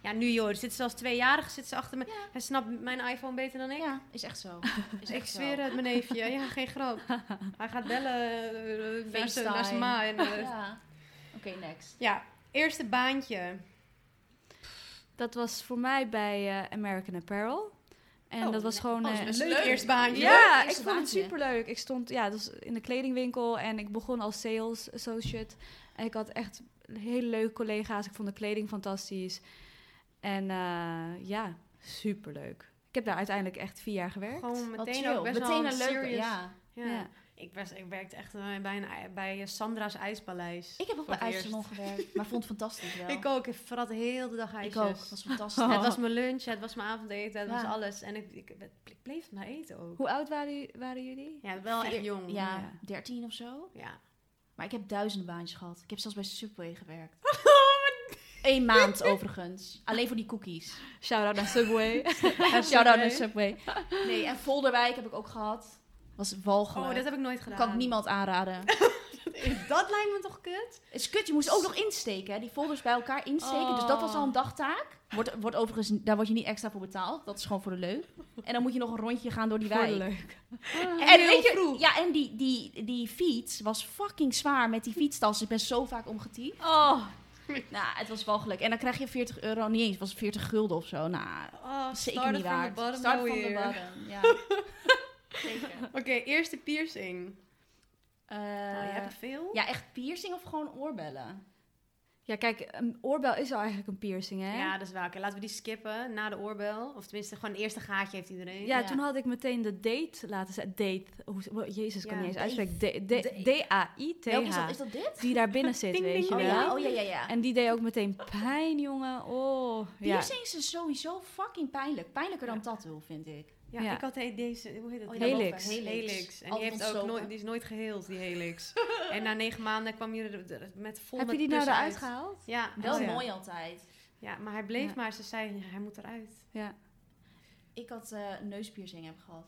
S3: Ja, nu joh, er zitten zelfs tweejarigen zitten ze achter me. Hij snapt mijn iPhone beter dan ik.
S2: ja, is echt zo. Is
S3: Ik
S2: echt zo.
S3: zweer het, mijn neefje. Ja, geen grap. Hij gaat bellen eh, eh, naar zijn- naar
S2: FaceTime.
S3: zijn ma. En, eh,
S2: Ja. Oké, next.
S3: ja, eerste baantje.
S4: Dat was voor mij bij eh, American Apparel. En
S3: Oh,
S4: dat was
S3: nee.
S4: gewoon...
S3: Oh, dat is
S4: eh,
S3: best
S2: leuk.
S3: leuk eerste baantje.
S4: Ja,
S2: Leuk
S4: ik
S2: eerste
S4: vond het
S2: baantje.
S4: superleuk. Ik stond ja, dus in de kledingwinkel en ik begon als sales associate. En ik had echt hele leuke collega's. Ik vond de kleding fantastisch. En eh, ja, superleuk. Ik heb daar uiteindelijk echt vier jaar gewerkt.
S3: Gewoon
S2: Wat
S3: meteen
S2: chill.
S3: ook best
S2: Meteen
S3: wel
S2: een leuke,
S3: serious.
S2: ja.
S3: Ja.
S4: Ja.
S3: Ik, was, ik werkte echt eh, bij, een, ij- bij eh, Sandra's IJspaleis.
S2: Ik heb ook
S3: Voor
S2: bij
S3: het eerst.
S2: IJsselon gewerkt, maar vond het fantastisch wel.
S3: Ik ook. Ik verrat heel de dag
S2: Ik
S3: ijsjes.
S2: ook, dat was fantastisch.
S3: Het was mijn lunch, het was mijn avondeten, het
S2: Ja.
S3: was alles. En ik, ik, ik bleef maar eten ook.
S4: Hoe oud waren, u- waren jullie?
S3: Ja, wel
S2: Vier-
S3: echt jong.
S2: Ja,
S4: ja.
S2: 13 of zo.
S3: Ja. Oh,
S2: Maar ik heb duizenden baantjes gehad. Ik heb zelfs bij Subway gewerkt. Eén maand overigens. Alleen voor die cookies.
S4: Shout-out naar Subway.
S2: Shout-out naar Subway. Nee, en Volderwijk heb ik ook gehad. Was walgelijk.
S3: Oh, dat heb ik nooit gedaan.
S2: kan ik niemand aanraden.
S3: dat lijkt me toch kut?
S2: Het is kut, je moest ook nog insteken. Hè? Die folders bij elkaar insteken. Dus dat was al een
S4: Oh.
S2: dagtaak. Wordt, wordt overigens, daar word je niet extra voor betaald. Dat is gewoon voor de leuk. En dan moet je nog een rondje gaan door die
S4: Voor de
S2: wijk.
S4: leuk. Ah,
S2: En weet je, ja, en die, die, die fiets was fucking zwaar met die fietstas. Ik ben zo vaak omgetiefd.
S4: Oh,
S2: Nou, het was walgelijk. En dan krijg je 40 euro, niet eens, het was 40 gulden of zo. Nou,
S3: Oh,
S2: zeker niet
S3: from the
S2: waard.
S3: bottom,
S2: Start
S3: no
S2: van de
S3: here.
S2: bottom, ja. zeker.
S3: Oké, eerste piercing. nou, je
S4: Oh,
S2: Eh,
S3: hebt er veel.
S2: ja, echt piercing of gewoon oorbellen?
S4: Ja, kijk, een oorbel is al eigenlijk een piercing, hè?
S3: Ja, dat is wel. Oké, laten we die skippen na de oorbel. Of tenminste, gewoon het eerste gaatje heeft iedereen.
S4: Ja,
S2: Ja.
S4: toen had ik meteen de date laten zetten. Date. Hoe, wo- Jezus, ik kan
S3: Ja,
S4: niet eens
S2: date.
S4: uitspreken. D-
S2: Date.
S4: D- D-A-I-T-H.
S2: Welke is dat? Is dat dit?
S4: Die daar binnen zit,
S3: Ding,
S4: weet
S3: ding,
S4: je
S2: Oh
S3: ding.
S4: wel.
S2: ja, oh ja, ja, ja.
S4: En die deed ook meteen pijn, jongen. Oh, ja.
S2: Piercings zijn sowieso fucking pijnlijk. Pijnlijker dan tattoo, vind ik.
S3: Ja,
S4: Ja.
S3: ik had de- deze, hoe heet het?
S2: Oh, ja,
S4: Helix.
S2: boven. Helix.
S3: En die,
S2: Altijd
S3: heeft ook
S2: ontstoken.
S3: nooit, die is nooit geheeld, die helix. en na negen maanden kwam je er- er met vol
S4: Heb
S3: met
S4: je die nou
S3: kussen
S4: eruit
S3: uit.
S4: gehaald?
S3: Ja,
S2: Wel
S3: oh ja.
S2: mooi altijd.
S3: Ja, maar hij bleef
S4: Ja.
S3: maar. Ze zei, hij moet eruit.
S4: Ja.
S2: Ik had eh neuspiercing heb ik gehad.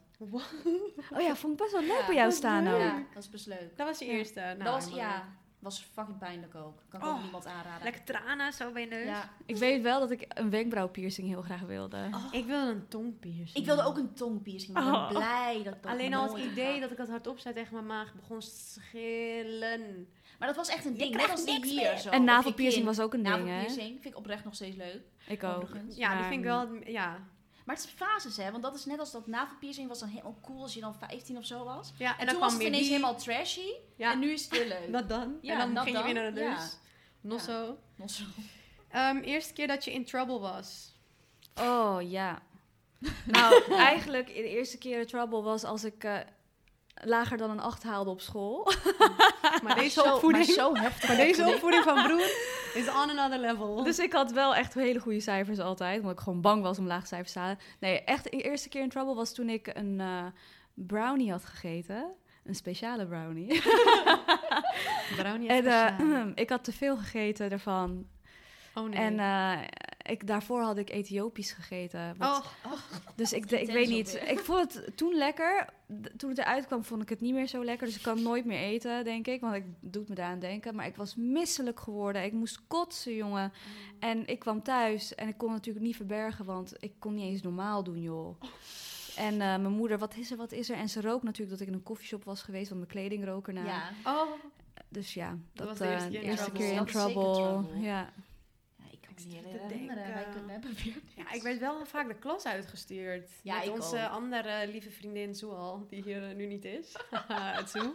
S4: Oh ja, vond ik best wel leuk bij jou
S3: wat
S4: staan ook.
S3: leuk.
S2: Ja, dat was best leuk.
S3: Dat was je
S4: Ja.
S3: eerste. Nou,
S2: dat was,
S3: maar-
S2: ja, was fucking pijnlijk ook. Kan ik
S3: Oh,
S2: ook niemand aanraden.
S3: Lekker dus. tranen zo bij je neus.
S2: Ja.
S4: Ik weet wel dat ik een wenkbrauwpiercing heel graag wilde.
S3: Ik wilde een tongpiercing.
S2: Ik wilde ook een tongpiercing, maar ik ben
S3: Oh.
S2: blij dat ik dat
S3: Alleen al het
S2: nooit heb
S3: idee
S2: gehad.
S3: dat ik het hardop zei tegen mijn maag begon te schillen.
S2: Maar dat was echt een
S3: Je
S2: ding, net
S3: krijgt
S2: als die
S3: niks
S2: hier
S3: meer.
S2: zo.
S4: en navelpiercing was ook een ding, hè?
S2: Navelpiercing vind ik oprecht nog steeds leuk,
S4: Ik ook.
S2: overigens.
S3: Ja, die
S4: Maar-
S3: vind ik wel... Ja,
S2: Maar het is fases, hè? Want dat is net als dat navelpiercing was dan helemaal cool als je dan 15 of zo was. En,
S3: ja en, dan
S2: toen
S3: kwam
S2: was het
S3: weer
S2: ineens
S3: die.
S2: helemaal trashy.
S3: Ja.
S2: En nu is het weer leuk.
S3: Dat dan.
S2: Ja,
S3: en dan
S2: dat
S3: ging je weer naar de
S2: dan,
S3: neus.
S2: ja.
S3: Nog
S2: Ja.
S3: zo.
S2: Nog zo.
S3: Ehm, eerste keer dat je in trouble was.
S4: Oh ja. Nou, eigenlijk de eerste keer de trouble was als ik eh, lager dan een 8 haalde op school.
S3: Maar deze
S2: zo,
S3: opvoeding...
S2: Maar zo heftig.
S3: maar deze opvoeding van broer is on another level.
S4: Dus ik had wel echt hele goede cijfers altijd, omdat ik gewoon bang was om lage cijfers te halen. Nee, echt de eerste keer in trouble was toen ik een eh, brownie had gegeten. Een speciale brownie.
S3: Brownie
S4: en
S3: heeft
S4: eh,
S3: gestaan.
S4: ik had te veel gegeten daarvan.
S3: Oh nee.
S4: En eh, ik, daarvoor had ik Ethiopisch gegeten. eh, wat-
S3: oh,
S4: Dus ik, de- ik
S2: Intens
S4: weet
S2: ook
S4: niet.
S2: weer.
S4: Ik vond het toen lekker. D- Toen het eruit kwam, vond ik het niet meer zo lekker. Dus ik kan het nooit meer eten, denk ik. Want ik doet me daaraan denken. Maar ik was misselijk geworden. Ik moest kotsen, jongen.
S3: Mm.
S4: En ik kwam thuis en ik kon het natuurlijk niet verbergen. Want ik kon niet eens normaal doen, joh. En eh, mijn moeder, wat is er, wat is er? En ze rook natuurlijk dat ik in een koffieshop was geweest. Want mijn kleding rook erna.
S2: Ja.
S3: oh.
S4: Dus ja, dat,
S3: was de eerste
S4: eh,
S3: keer in
S4: eerste
S3: trouble.
S4: keer in
S2: Dat was zeker trouble.
S4: trouble. Ja.
S2: Ja, ik kan me
S3: Ik
S2: niet
S3: zit te
S2: herinneren. Wij
S3: denken.
S2: kunnen proberen.
S3: Ja, ik werd wel vaak de klas uitgestuurd.
S2: Ja,
S3: met
S2: ik
S3: onze
S2: ook.
S3: andere lieve vriendin Zoal, die hier eh, nu niet is. Haha, Zoe.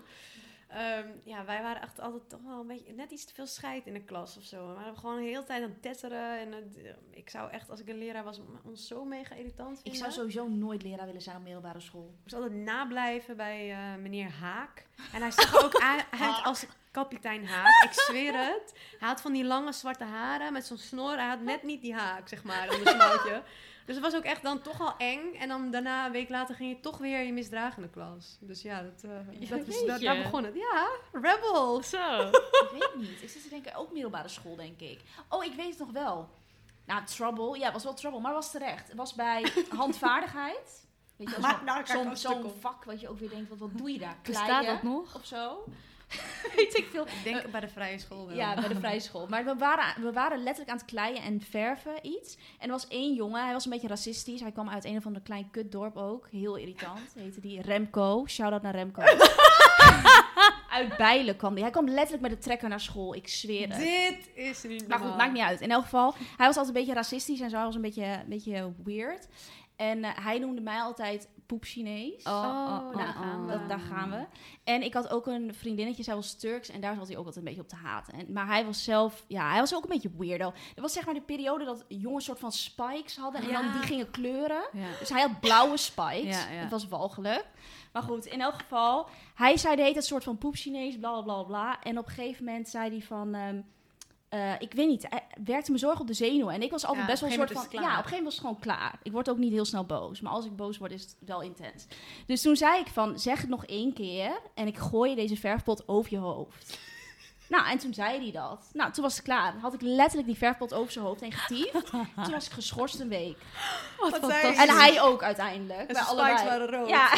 S3: Ehm, ja, wij waren echt altijd toch wel een beetje, net iets te veel scheid in de klas of zo. We waren gewoon de hele tijd aan het tetteren. En het, eh, ik zou echt, als ik een leraar was, m- ons zo mega irritant
S2: Ik
S3: vinden.
S2: zou sowieso nooit leraar willen zijn op middelbare school.
S3: Ik moest altijd nablijven bij eh, meneer Haak. En hij zag er ook aan- uit als kapitein Haak. Ik zweer het. Hij had van die lange zwarte haren met zo'n snor. Hij had net niet die haak, zeg maar, om een snootje. Dus het was ook echt dan toch al eng. En dan daarna, een week later, ging je toch weer je misdragende klas. Dus ja, dat, eh, dat was, daar, daar
S6: jeetje.
S3: begon het. Ja,
S1: Dus
S3: rebel.
S6: Zo.
S2: ik weet niet. Ik zit te denken, ook middelbare school, denk ik. Oh, ik weet het nog wel. Nou, trouble. Ja, was wel trouble, maar was terecht. Het was bij handvaardigheid. Weet je,
S3: Maar
S2: wel,
S3: nou,
S2: zo'n-
S3: kijk, als
S2: zo'n
S3: het komt.
S2: vak wat je ook weer denkt, wat, wat doe je daar?
S4: Bestaat
S2: Kleien
S4: dat nog?
S2: of zo? weet ik veel.
S3: Ik denk bij de vrije school wel.
S2: Ja, bij de vrije school. Maar we waren, we waren letterlijk aan het kleien en verven iets. En er was één jongen, hij was een beetje racistisch. Hij kwam uit een of ander klein kutdorp ook. Heel irritant. Heette die Remco. Shout-out naar Remco. uit Bijlen kwam die. Hij kwam letterlijk met de trekker naar school. Ik zweer het.
S3: Dit is niet
S2: Maar
S3: normaal.
S2: goed, maakt niet uit. In elk geval, hij was altijd een beetje racistisch en zo. Hij was een beetje, een beetje weird. En eh, hij noemde mij altijd poep Chinees.
S3: oh, daar gaan we.
S2: Dat, daar gaan we. En ik had ook een vriendinnetje, zij was Turks en daar zat hij ook altijd een beetje op te haten. En, maar hij was zelf, ja, hij was ook een beetje weirdo. Er was zeg maar de periode dat jongens soort van spikes hadden en
S3: Ja.
S2: dan die gingen kleuren.
S4: Ja.
S2: Dus hij had blauwe spikes.
S4: Ja, ja.
S2: Het was walgelijk. Maar goed, in elk geval, hij zei de hele tijd soort van poep Chinees, bla bla bla. En op een gegeven moment zei hij van. ehm, eh, ik weet niet, hij werkte mijn zorg op de zenuwen. En ik was altijd
S3: Ja,
S2: best wel
S3: op
S2: een
S3: een
S2: soort van...
S3: gegeven
S2: Ja, op een gegeven moment
S3: moment
S2: was het gewoon klaar. Ik word ook niet heel snel boos. Maar als ik boos word, is het wel intens. Dus toen zei ik van, zeg het nog één keer... en ik gooi je deze verfpot over je hoofd. nou, en toen zei hij dat. Nou, toen was het klaar. Had ik letterlijk die verfpot over zijn hoofd heen getiefd. toen was ik geschorst een week.
S3: Wat zei
S2: En hij ook uiteindelijk.
S3: En
S2: bij
S3: zijn
S2: allebei.
S3: spikes waren rood.
S2: Ja.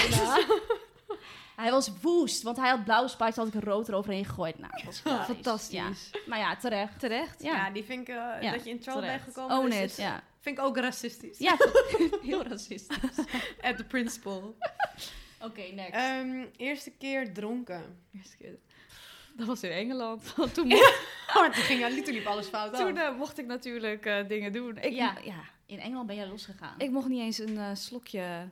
S2: hij was woest, want hij had blauwe spikes... had ik een rood eroverheen gegooid. Nou, dat was hilarisch.
S4: Fantastisch.
S2: Ja. Maar ja, terecht.
S4: Terecht.
S3: Ja,
S2: Ja.
S3: die vind ik, eh,
S2: Ja,
S3: dat je in trouble bent
S2: terecht.
S3: gekomen.
S4: Own
S3: is-
S4: it.
S3: is-
S2: Ja.
S3: Vind ik ook racistisch.
S2: Ja, heel racistisch.
S3: At the principal.
S2: Oké, next.
S3: Eh, Ehm, eerste keer dronken.
S4: Eerste keer. Dat was in Engeland. Want toen mocht,
S2: Oh,
S3: Want toen ging ja, toen liep alles fout
S4: toen,
S3: af.
S4: eh, mocht ik natuurlijk eh, dingen doen. Ik,
S2: Ja.
S4: ja,
S2: In Engeland ben jij losgegaan.
S4: ik mocht niet eens een eh, slokje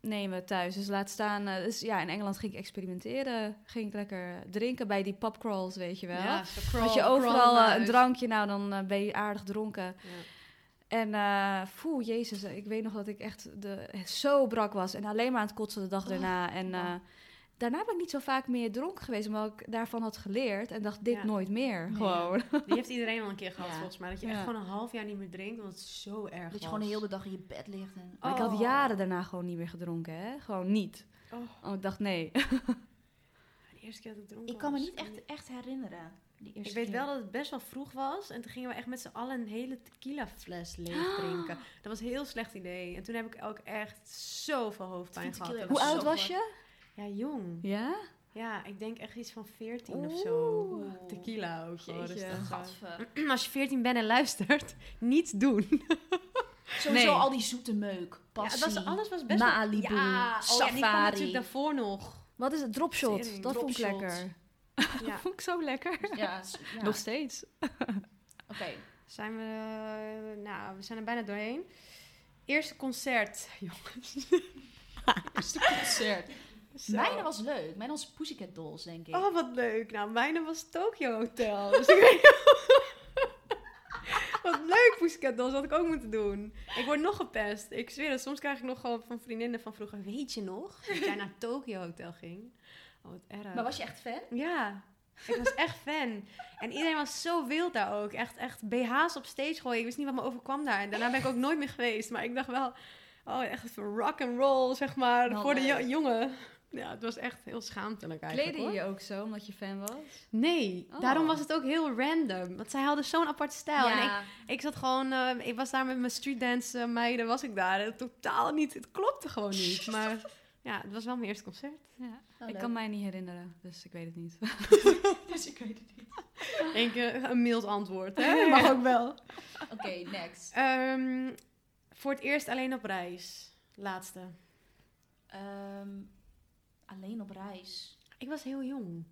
S4: nemen thuis. Dus laat staan. eh, dus ja, in Engeland ging ik experimenteren. Ging ik lekker drinken bij die pubcrawls, weet je wel.
S3: Ja, zo crawl-
S4: Had je
S3: crawl
S4: overal
S3: naar
S4: eh, een
S3: huis.
S4: drankje, nou dan eh, ben je aardig dronken.
S3: Ja.
S4: En eh foe, jezus, eh, ik weet nog dat ik echt de, zo brak was. En alleen maar aan het kotsen de dag daarna. En eh, daarna ben ik niet zo vaak meer dronken geweest, omdat ik daarvan had geleerd. En dacht, dit
S3: Ja.
S4: nooit meer,
S2: Nee.
S4: gewoon.
S3: Die heeft iedereen al een keer gehad,
S2: Ja.
S3: volgens mij. Dat je
S4: Ja.
S3: echt gewoon een half jaar niet meer drinkt, omdat het zo erg
S2: Dat je
S3: was.
S2: gewoon de hele dag in je bed ligt. En...
S3: Oh.
S4: Maar ik had jaren daarna gewoon niet meer gedronken, hè. Gewoon niet.
S3: Oh,
S4: Want ik dacht, nee.
S3: de eerste keer dat ik dronken
S2: Ik kan me
S3: was.
S2: niet echt, echt herinneren. die
S3: Oh, Ik
S2: eerste
S3: weet
S2: keer.
S3: wel dat het best wel vroeg was. En toen gingen we echt met z'n allen een hele tequila fles leeg drinken. Dat was een heel slecht idee. En toen heb ik ook echt zoveel hoofdpijn
S2: Vind
S3: gehad.
S2: tequila
S4: Hoe
S3: Dat
S2: zo
S4: oud was
S2: goed.
S4: je?
S3: Ja, jong.
S4: Ja?
S3: Ja, ik denk echt iets van 14 of zo.
S2: Oeh.
S3: Tequila ook.
S2: Oh,
S3: hoor. Dus
S4: Jeetje.
S3: dat-
S2: Gadver.
S3: Als je 14 bent en luistert, niets doen.
S2: Sowieso
S4: Nee.
S2: al die zoete meuk. Passie.
S3: Ja, het was, alles was best
S2: Malibu,
S3: wel... Ja, oh ja, die kwam
S2: safari.
S3: natuurlijk daarvoor nog.
S4: Wat is het? Dropshot.
S3: Tering,
S4: dat vond ik
S3: dropshot.
S4: lekker.
S3: Ja.
S4: vond ik zo lekker.
S2: Ja, s- ja.
S4: Nog
S2: oké.
S4: steeds.
S3: Zijn we... eh, nou, we zijn er bijna doorheen. Eerste concert, jongens.
S2: Eerste concert.
S3: Zo.
S2: Mijne was leuk. Mijne was Pussycat Dolls, denk ik.
S3: Oh, wat leuk. Nou, mijne was Tokyo Hotel. Dus ik weet Wat leuk, Pussycat Dolls. Dat had ik ook moeten doen. Ik word nog gepest. Ik zweer het. Soms krijg ik nog gewoon van vriendinnen van vroeger... Weet je nog? Dat jij naar Tokyo Hotel ging. Oh, wat
S4: Eh.
S3: erg.
S2: Maar was je echt fan?
S3: Ja, ik was echt fan. En iedereen was zo wild daar ook. Echt, echt BH's op stage gooien. Ik wist niet wat me overkwam daar. En daarna ben ik ook nooit meer geweest. Maar ik dacht wel, oh, echt rock and roll, zeg maar,
S2: Wel
S3: voor de jo-
S2: leuk.
S3: jongen. Ja, het was echt heel schaamtelijk eigenlijk.
S4: Kleden
S3: Hoor.
S4: je ook zo, omdat je fan was?
S3: Nee,
S4: Oh.
S3: daarom was het ook heel random. Want zij hadden zo'n apart stijl. En ik,
S2: ja.
S3: ik zat gewoon, eh, ik was daar met mijn streetdance eh, meiden, was ik daar. En totaal niet, het klopte gewoon niet. Maar ja, het was wel mijn eerste concert.
S4: Ja.
S2: Nou,
S4: ik
S2: leuk.
S4: kan mij niet herinneren, dus ik weet het niet.
S2: Dus ik weet het niet.
S3: Eén keer een mild antwoord, hè? Mag ook wel.
S2: Oké, next.
S3: Ehm, voor het eerst alleen op reis. Laatste.
S2: Ehm, alleen op reis.
S3: Ik was heel jong.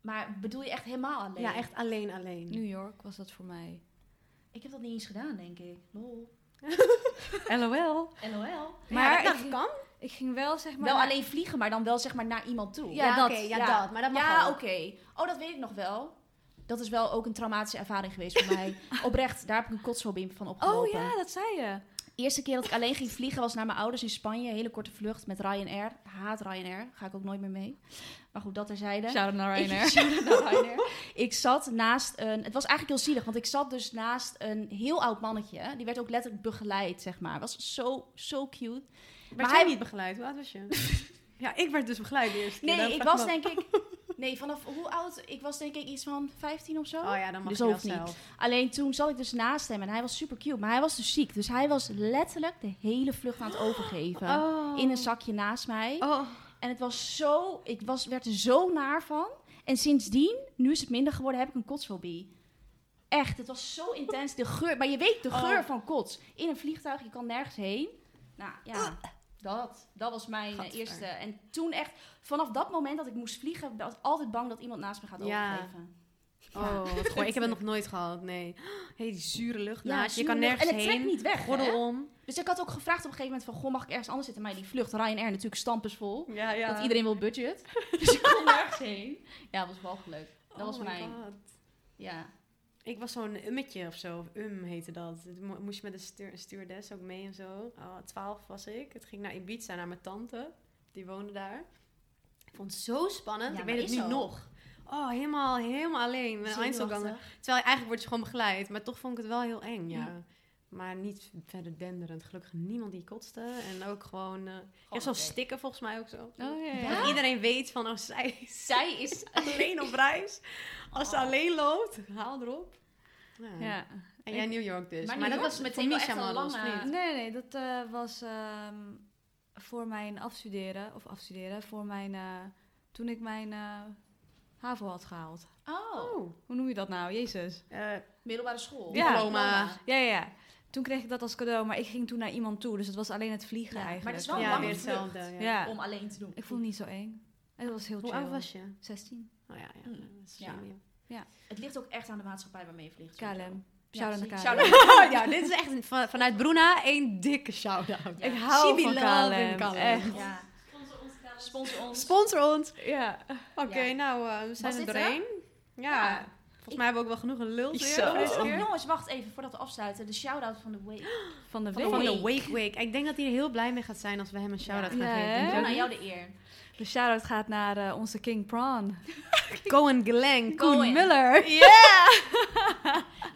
S2: Maar bedoel je echt helemaal alleen?
S3: Ja, echt alleen alleen.
S4: New York was dat voor mij.
S2: Ik heb dat niet eens gedaan, denk ik. Lol.
S3: LOL.
S2: LOL.
S3: Maar
S4: Maar
S3: dat,
S4: ik-
S3: kan.
S4: Ik ging wel, zeg maar...
S2: wel
S4: naar-
S2: alleen vliegen, maar dan wel zeg maar naar iemand toe.
S4: Ja, dat.
S3: oké, ja,
S2: Ja.
S3: dat. Maar dat mag
S2: ja,
S3: wel.
S2: oké. Oh, dat weet ik nog wel. Dat is wel ook een traumatische ervaring geweest voor mij. Oprecht, daar heb ik een kotsfobie van opgelopen.
S4: Oh ja, dat zei je.
S2: eerste keer dat ik alleen ging vliegen was naar mijn ouders in Spanje. Hele korte vlucht met Ryanair. Haat Ryanair. Ga ik ook nooit meer mee. Maar goed, dat terzijde.
S4: Shout-out naar Ryanair.
S2: Ik, Nou, Ryanair. ik zat naast een. Het was eigenlijk heel zielig, want ik zat dus naast een heel oud mannetje. Die werd ook letterlijk begeleid, zeg maar. Was zo, zo cute.
S3: Werd jij
S2: hij-
S3: niet begeleid? Hoe oud was je? ja, ik werd dus begeleid de eerste keer.
S2: Nee,
S3: Dat
S2: ik
S3: vraag
S2: was
S3: me
S2: denk ik. Nee, vanaf hoe oud? Ik was denk ik iets van 15 of zo.
S3: af. Oh ja, dan mag
S2: Dus
S3: je
S2: dat
S3: wel
S2: hoeft niet.
S3: zelf.
S2: Alleen toen zat ik dus naast hem en hij was super cute. Maar hij was dus ziek. Dus hij was letterlijk de hele vlucht aan het overgeven.
S3: Oh.
S2: eh, In een zakje naast mij.
S3: Oh.
S2: En het was zo, ik was, werd er zo naar van. En sindsdien, nu is het minder geworden, heb ik een kotsfobie. Echt, het was zo intens. De geur, maar je weet de
S3: Oh.
S2: geur van kots. In een vliegtuig, je kan nergens heen. Nou ja, dat, dat was mijn eh,
S3: Ah. Gadver.
S2: eerste. En toen echt, vanaf dat moment dat ik moest vliegen, was ik altijd bang dat iemand naast me gaat
S3: Ja.
S2: overgeven.
S3: Oh, wat goor. ik heb het nog nooit gehad, nee. Hé, die zure lucht
S2: Ja,
S3: naast dus je. Je
S2: zure
S3: kan
S2: lucht.
S3: nergens
S2: En het trekt
S3: heen.
S2: niet weg, hè?
S3: Gordel om.
S2: Dus ik had ook gevraagd op een gegeven moment van, goh, mag ik ergens anders zitten? Maar die vlucht, Ryanair natuurlijk, stampensvol.
S3: Ja, ja.
S2: Want iedereen wil budget. Dus ik kon nergens heen. Ja, dat was walgelijk. Dat
S3: Oh
S2: was
S3: my
S2: mijn,
S3: God.
S2: ja.
S3: Ik was zo'n ummetje of zo. of Um heette dat. Het mo- Moest je met de stuur, stewardess ook mee en zo. Oh, Twaalf was ik. Het ging naar Ibiza, naar mijn tante. Die woonde daar. Ik vond het zo spannend.
S2: Ja,
S3: ik
S2: maar
S3: weet het
S2: is
S3: nu
S2: ook.
S3: nog. Oh, helemaal, helemaal alleen. Met een Einzelganger.
S2: Zenuwachtig.
S3: Terwijl eigenlijk word je gewoon begeleid. Maar toch vond ik het wel heel eng, ja. Maar niet verder denderend. Gelukkig niemand die kotste. En ook gewoon... eh je hebt zo'n
S2: Oh, oké.
S3: stikken volgens mij ook zo.
S4: Oh ja,
S3: Dat iedereen weet van, oh, zij is
S2: Zij Oh. is
S3: alleen op reis. Als ze alleen loopt, haal erop. Ja.
S4: Ja.
S3: En jij New York dus.
S2: Maar
S3: Maar,
S2: New
S3: dat
S2: York
S3: was
S2: is
S3: meteen
S2: meteen
S3: wel
S2: wel echt een lange-
S3: of niet?
S4: Nee, nee, dat eh, was ehm, voor mijn afstuderen, of afstuderen, voor mijn, eh, toen ik mijn eh, HAVO had gehaald.
S2: Oh,
S3: Oh.
S4: Hoe noem je dat nou? Jezus.
S3: Eh,
S2: middelbare school.
S4: Ja.
S3: Diploma.
S4: Ja, ja, ja. Toen kreeg ik dat als cadeau, maar ik ging toen naar iemand toe, dus het was alleen het vliegen
S2: Ja, maar
S4: eigenlijk.
S2: het is wel een
S3: ja,
S2: lange
S3: weer
S2: vlucht.
S3: hetzelfde. Ja.
S4: Ja.
S2: Om alleen te doen.
S4: Ik vond het niet zo eng. Het was heel
S3: Hoe
S4: chill.
S3: oud was je?
S4: 16.
S3: Oh ja, ja.
S2: Mm.
S3: dat is
S2: Ja.
S3: slim, ja.
S2: Het ligt ook echt aan de maatschappij waarmee je vliegt.
S4: KLM.
S2: Ja,
S4: Shout-out naar
S2: precies.
S4: KLM.
S3: Shout-out. ja, dit is echt een- van- vanuit Bruna één dikke shout-out.
S2: Ja.
S4: Ik hou
S3: She
S4: van
S3: be loving
S4: KLM.
S3: KLM.
S4: Echt.
S2: Ja. Sponsor ons.
S3: Sponsor ons.
S4: Ja.
S3: Oké,
S2: Ja.
S3: nou, eh, we zijn
S2: dit
S3: er doorheen. Ja,
S2: Ja.
S3: volgens mij hebben we ook wel genoeg geluld weer.
S4: Zo.
S3: voor deze
S2: Oh,
S3: keer.
S2: jongens, wacht even voordat we afsluiten. De shout-out van de week.
S4: Van de
S3: Van
S4: week.
S3: de Wake Wake. Ik denk dat hij er heel blij mee gaat zijn als we hem een shout-out
S4: Ja.
S3: gaan
S4: Ja,
S3: geven.
S4: hè?
S3: Denk
S2: Ron,
S3: je
S2: aan
S3: ook
S2: jou de eer.
S4: De shout-out gaat naar eh, onze King Prawn.
S3: niet? Cohen Glenn,
S2: Cohen.
S3: Koen Miller.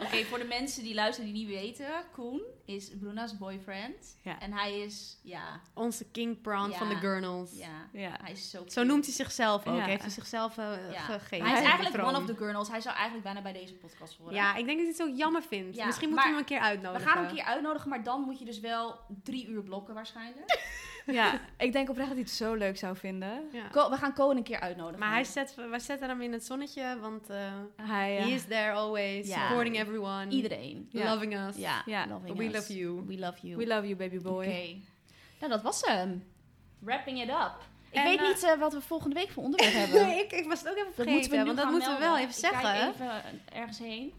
S2: Oké, voor de mensen die luisteren die niet weten. Koen is Bruna's boyfriend.
S3: Ja.
S2: En hij is, ja,
S3: Onze King Prawn
S2: Ja.
S3: van de Gurnals.
S2: ja.
S4: Ja.
S2: Hij is zo
S3: Zo noemt hij zichzelf ook.
S4: Ja.
S3: Heeft hij zichzelf eh,
S2: Ja.
S3: gegeven.
S2: Hij is
S3: die
S2: eigenlijk
S3: troon.
S2: one of the girls. Hij zou eigenlijk bijna bij deze podcast horen.
S3: Ja, ik denk dat hij het ook jammer vindt.
S2: Ja,
S3: Misschien moeten we
S2: maar-
S3: hem een keer
S2: We
S3: uitnodigen.
S2: gaan hem een keer uitnodigen, maar dan moet je dus wel drie uur blokken waarschijnlijk.
S4: Ja, ik denk oprecht dat hij het zo leuk zou vinden.
S3: Ja.
S2: Ko- we gaan Cohen een keer uitnodigen.
S3: Maar hij zet, wij zetten hem in het zonnetje, want eh
S4: Hij, eh,
S3: he is there always,
S2: Ja.
S3: supporting everyone.
S2: Iedereen.
S4: Ja.
S3: Loving us.
S2: Ja,
S4: Ja.
S2: loving
S3: We
S2: us.
S3: love you.
S2: We love you.
S4: we love you, baby boy.
S2: Oké. Nou, dat was hem. Wrapping it up. Ik
S3: En,
S2: weet
S3: eh,
S2: niet eh, wat we volgende week voor onderwerp hebben.
S3: ik, ik was het ook even
S2: Dat
S3: vergeten,
S2: moeten we nu
S3: want dat
S2: gaan
S3: moeten we wel
S2: melden.
S3: even
S2: Ik kijk
S3: zeggen.
S2: even ergens heen.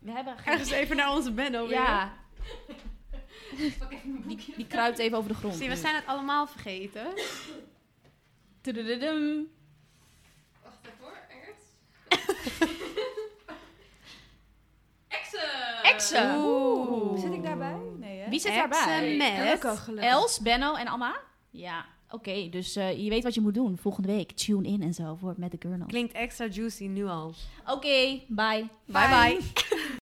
S2: We hebben geen...
S3: Ergens even naar onze Benno weer.
S2: Ja. die, die kruipt even over de grond.
S3: Zie, we
S2: nu.
S3: zijn het allemaal vergeten.
S2: Tudududum.
S1: Wacht even hoor, ergens. Exen!
S2: Exen.
S3: Oeh.
S4: Zit ik daarbij? Nee, hè?
S2: Wie zit
S3: Exen
S2: daarbij?
S3: met
S4: Gelukkig, gelukkig.
S2: Els, Benno en Amma? Ja. Oké, dus eh, je weet wat je moet doen. Volgende week tune in en zo voor Met de Gurnal.
S3: Klinkt extra juicy nu al.
S2: Oké, bye.
S3: Bye bye.